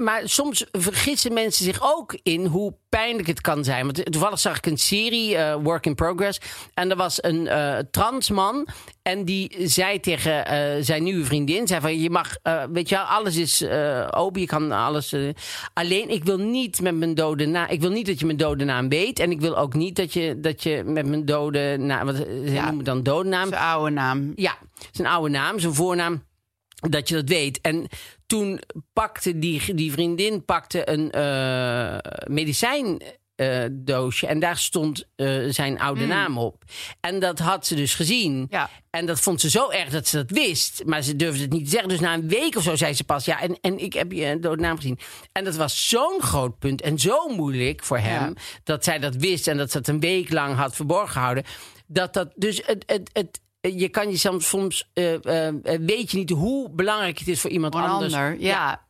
Speaker 2: maar soms vergissen mensen zich ook in hoe pijnlijk het kan zijn. Want toevallig zag ik een serie, eh, Work in Progress. En er was een eh transman. En die zei tegen eh, zijn nieuwe vriendin: zei van, Je mag, eh, weet je, wel, alles is eh, open. Je kan alles. eh, alleen ik wil niet met mijn dode naam. Ik wil niet dat je mijn dode naam weet. En ik wil ook niet dat je, dat je met mijn dode naam. Want eh, ze
Speaker 3: Ja.
Speaker 2: noemen dan dode naam.
Speaker 3: Zijn oude naam.
Speaker 2: Ja, zijn oude naam, zijn voornaam. Dat je dat weet. En toen pakte die, die vriendin pakte een eh medicijndoosje. En daar stond eh, zijn oude naam op. En dat had ze dus gezien.
Speaker 3: Ja.
Speaker 2: En dat vond ze zo erg dat ze dat wist. Maar ze durfde het niet te zeggen. Dus na een week of zo zei ze pas... ja, en, en ik heb je dode naam gezien. En dat was zo'n groot punt en zo moeilijk voor hem...
Speaker 3: Ja.
Speaker 2: dat zij dat wist en dat ze dat een week lang had verborgen gehouden. Dat dat, dus het, het, het, je kan je soms... soms eh, eh, weet je niet hoe belangrijk het is voor iemand
Speaker 3: Voor een
Speaker 2: anders.
Speaker 3: ander. Ja.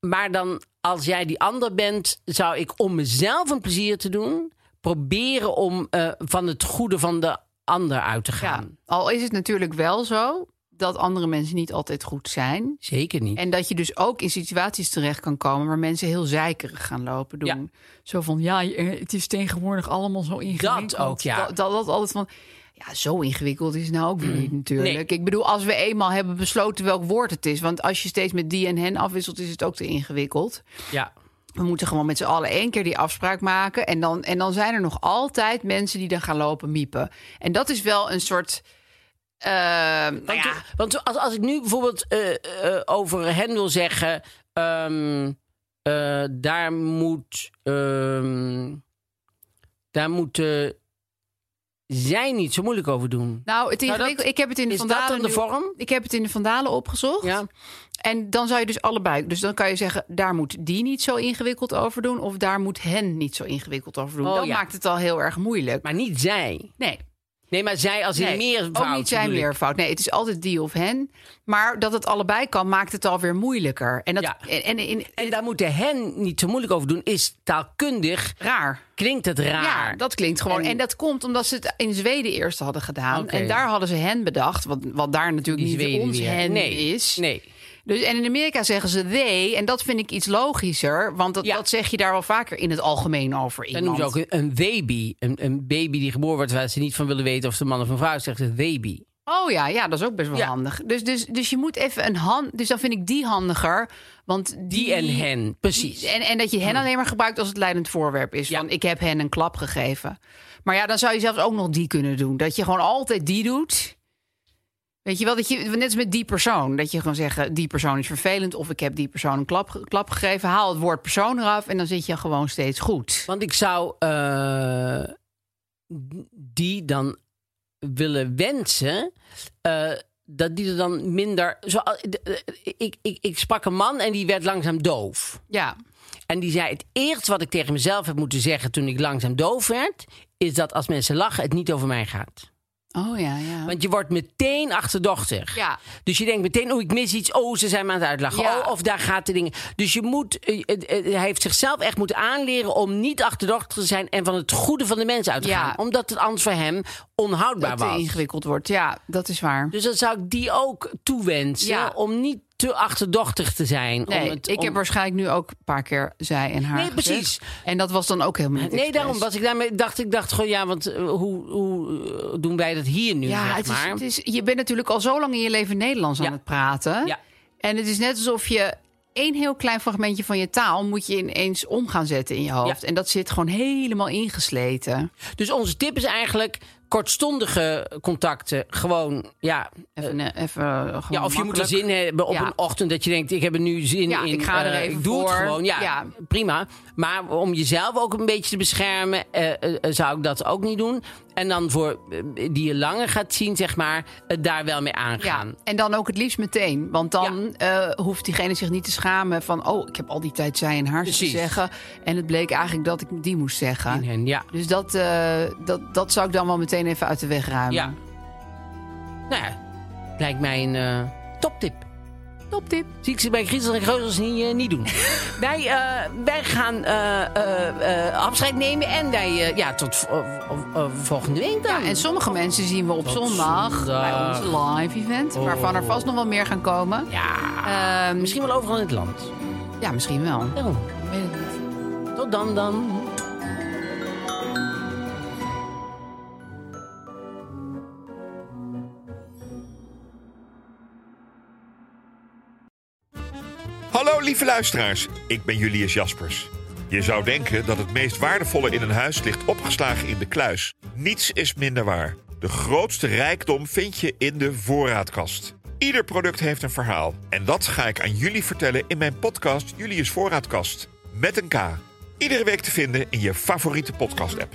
Speaker 2: Maar dan, als jij die ander bent, zou ik om mezelf een plezier te doen... proberen om eh, van het goede van de ander uit te
Speaker 3: ja.
Speaker 2: gaan.
Speaker 3: Al is het natuurlijk wel zo dat andere mensen niet altijd goed zijn.
Speaker 2: Zeker niet.
Speaker 3: En dat je dus ook in situaties terecht kan komen waar mensen heel zeikerig gaan lopen doen.
Speaker 2: Ja.
Speaker 3: Zo van, ja, eh, het is tegenwoordig allemaal zo ingewikkeld.
Speaker 2: ook, ja.
Speaker 3: Dat, dat, dat altijd van, ja, zo ingewikkeld is het nou ook weer niet natuurlijk. Ik bedoel, als we eenmaal hebben besloten welk woord het is. Want als je steeds met die en hen afwisselt, is het ook te ingewikkeld.
Speaker 2: ja.
Speaker 3: We moeten gewoon met z'n allen één keer die afspraak maken. En dan, en dan zijn er nog altijd mensen die dan gaan lopen miepen. En dat is wel een soort... eh, nou
Speaker 2: Want,
Speaker 3: ja,
Speaker 2: want als, als ik nu bijvoorbeeld eh, eh, over hen wil zeggen... ehm, eh, daar moet... ehm, daar moeten zij niet zo moeilijk over doen.
Speaker 3: nou, het
Speaker 2: dat-
Speaker 3: ingewikkeld- ik heb het in de
Speaker 2: Is dat
Speaker 3: Vandalen
Speaker 2: dan de
Speaker 3: nu-
Speaker 2: vorm?
Speaker 3: Ik heb het in de Vandalen opgezocht.
Speaker 2: Ja.
Speaker 3: En dan zou je dus allebei. Dus dan kan je zeggen, daar moet die niet zo ingewikkeld over doen. Of daar moet hen niet zo ingewikkeld over doen.
Speaker 2: Oh,
Speaker 3: dan
Speaker 2: ja.
Speaker 3: maakt het al heel erg moeilijk.
Speaker 2: Maar niet zij.
Speaker 3: nee,
Speaker 2: Nee, maar zij als in
Speaker 3: nee.
Speaker 2: meer
Speaker 3: ook niet zijn meervoud. Nee, het is altijd die of hen. Maar dat het allebei kan, maakt het alweer moeilijker. En dat
Speaker 2: Ja.
Speaker 3: en, en, in
Speaker 2: En daar moeten hen niet zo moeilijk over doen. Is taalkundig,
Speaker 3: raar.
Speaker 2: klinkt het raar.
Speaker 3: Ja, dat klinkt gewoon. En, dat komt omdat ze het in Zweden eerst hadden gedaan.
Speaker 2: Oké.
Speaker 3: En daar hadden ze hen bedacht. Wat, wat daar natuurlijk
Speaker 2: Die
Speaker 3: niet
Speaker 2: Zweden
Speaker 3: ons
Speaker 2: weer.
Speaker 3: hen
Speaker 2: nee.
Speaker 3: is.
Speaker 2: Nee.
Speaker 3: Dus, en in Amerika zeggen ze they. En dat vind ik iets logischer. Want dat,
Speaker 2: Ja.
Speaker 3: dat zeg je daar wel vaker in het algemeen over
Speaker 2: Dan
Speaker 3: iemand.
Speaker 2: noemen ze ook een, een baby. Een, een baby die geboren wordt waar ze niet van willen weten of ze man of een vrouw is, zegt ze baby.
Speaker 3: Oh ja, ja, dat is ook best wel
Speaker 2: Ja.
Speaker 3: handig. Dus, dus, dus je moet even een hand. Dus dan vind ik die handiger. Want die,
Speaker 2: Die en hen, precies. Hm.
Speaker 3: En, en dat je hen alleen maar gebruikt als het leidend voorwerp is.
Speaker 2: Ja.
Speaker 3: Van ik heb hen een klap gegeven. Maar ja, dan zou je zelfs ook nog die kunnen doen. Dat je gewoon altijd die doet. Weet je wel, dat je, net als met die persoon. Dat je gewoon zegt, eh, die persoon is vervelend. Of ik heb die persoon een klap, ge- klap gegeven. Haal het woord persoon eraf. En dan zit je gewoon steeds goed.
Speaker 2: Want ik zou eh, die dan willen wensen. eh, dat die er dan minder. Zo, eh, ik, ik, ik sprak een man en die werd langzaam doof.
Speaker 3: Ja,
Speaker 2: En die zei: Het eerste wat ik tegen mezelf heb moeten zeggen. toen ik langzaam doof werd. is dat als mensen lachen, het niet over mij gaat.
Speaker 3: oh ja, ja.
Speaker 2: Want je wordt meteen achterdochtig.
Speaker 3: Ja.
Speaker 2: Dus je denkt meteen, oh, ik mis iets. Oh, ze zijn me aan het uitlachen.
Speaker 3: Ja.
Speaker 2: Oh, of daar gaat de dingen. Dus je moet, eh, eh, eh, hij heeft zichzelf echt moeten aanleren om niet achterdochtig te zijn en van het goede van de mensen uit te
Speaker 3: Ja.
Speaker 2: gaan. Omdat het anders voor hem onhoudbaar
Speaker 3: dat het
Speaker 2: was.
Speaker 3: ingewikkeld wordt. Ja, dat is waar.
Speaker 2: Dus dat zou ik die ook toewensen.
Speaker 3: Ja.
Speaker 2: Om niet te achterdochtig te zijn.
Speaker 3: Nee,
Speaker 2: om het,
Speaker 3: ik
Speaker 2: om-
Speaker 3: heb waarschijnlijk nu ook een paar keer zij en haar.
Speaker 2: Nee,
Speaker 3: gezegd.
Speaker 2: precies.
Speaker 3: En dat was dan ook helemaal niet.
Speaker 2: Nee,
Speaker 3: expres.
Speaker 2: daarom was ik daarmee. Dacht ik, dacht gewoon, ja, want eh, hoe, hoe eh, doen wij dat hier nu?
Speaker 3: Ja,
Speaker 2: zeg
Speaker 3: het is,
Speaker 2: maar.
Speaker 3: het is, je bent natuurlijk al zo lang in je leven Nederlands
Speaker 2: Ja.
Speaker 3: aan het praten.
Speaker 2: Ja.
Speaker 3: En het is net alsof je één heel klein fragmentje van je taal moet je ineens om gaan zetten in je hoofd. En dat zit gewoon helemaal ingesleten.
Speaker 2: Dus onze tip is eigenlijk kortstondige contacten. Gewoon, ja,
Speaker 3: Even, eh, even eh, gewoon
Speaker 2: Ja, of je moet er
Speaker 3: makkelijk.
Speaker 2: zin hebben op
Speaker 3: Ja.
Speaker 2: een ochtend dat je denkt, ik heb er nu zin
Speaker 3: Ja,
Speaker 2: in.
Speaker 3: ik ga er
Speaker 2: eh,
Speaker 3: even
Speaker 2: ik doe het
Speaker 3: voor.
Speaker 2: gewoon. Ja,
Speaker 3: Ja.
Speaker 2: prima. Maar om jezelf ook een beetje te beschermen, eh, eh, eh, zou ik dat ook niet doen. En dan voor eh, die je langer gaat zien, zeg maar, het daar wel mee
Speaker 3: Ja,
Speaker 2: aangaan.
Speaker 3: en dan ook het liefst meteen. Want dan eh, hoeft diegene zich niet te schamen van... oh, ik heb al die tijd zij en haar te
Speaker 2: Precies.
Speaker 3: zeggen. En het bleek eigenlijk dat ik die moest zeggen.
Speaker 2: In hen, ja.
Speaker 3: Dus dat, eh, dat, dat zou ik dan wel meteen even uit de weg ruimen.
Speaker 2: ja. Nou ja, lijkt mij een eh, toptip.
Speaker 3: Toptip.
Speaker 2: Zie ik ze bij Griezels en Geuzels niet, eh, niet doen. *laughs* wij, eh, wij gaan eh, eh, eh, afscheid nemen en wij, eh, ja, tot v- eh, eh, volgende week dan.
Speaker 3: Ja, en sommige mensen zien we op
Speaker 2: Tot
Speaker 3: zondag, bij
Speaker 2: zondag. Oh.
Speaker 3: ons live event. Waarvan er vast nog wel meer gaan komen.
Speaker 2: ja.
Speaker 3: Ehm,
Speaker 2: Misschien wel overal in het land.
Speaker 3: ja, misschien wel.
Speaker 2: Nou, tot dan dan.
Speaker 5: Hallo lieve luisteraars, ik ben Julius Jaspers. Je zou denken dat het meest waardevolle in een huis ligt opgeslagen in de kluis. Niets is minder waar. De grootste rijkdom vind je in de voorraadkast. Ieder product heeft een verhaal. En dat ga ik aan jullie vertellen in mijn podcast Julius Voorraadkast. Met een K. Iedere week te vinden in je favoriete podcast-app.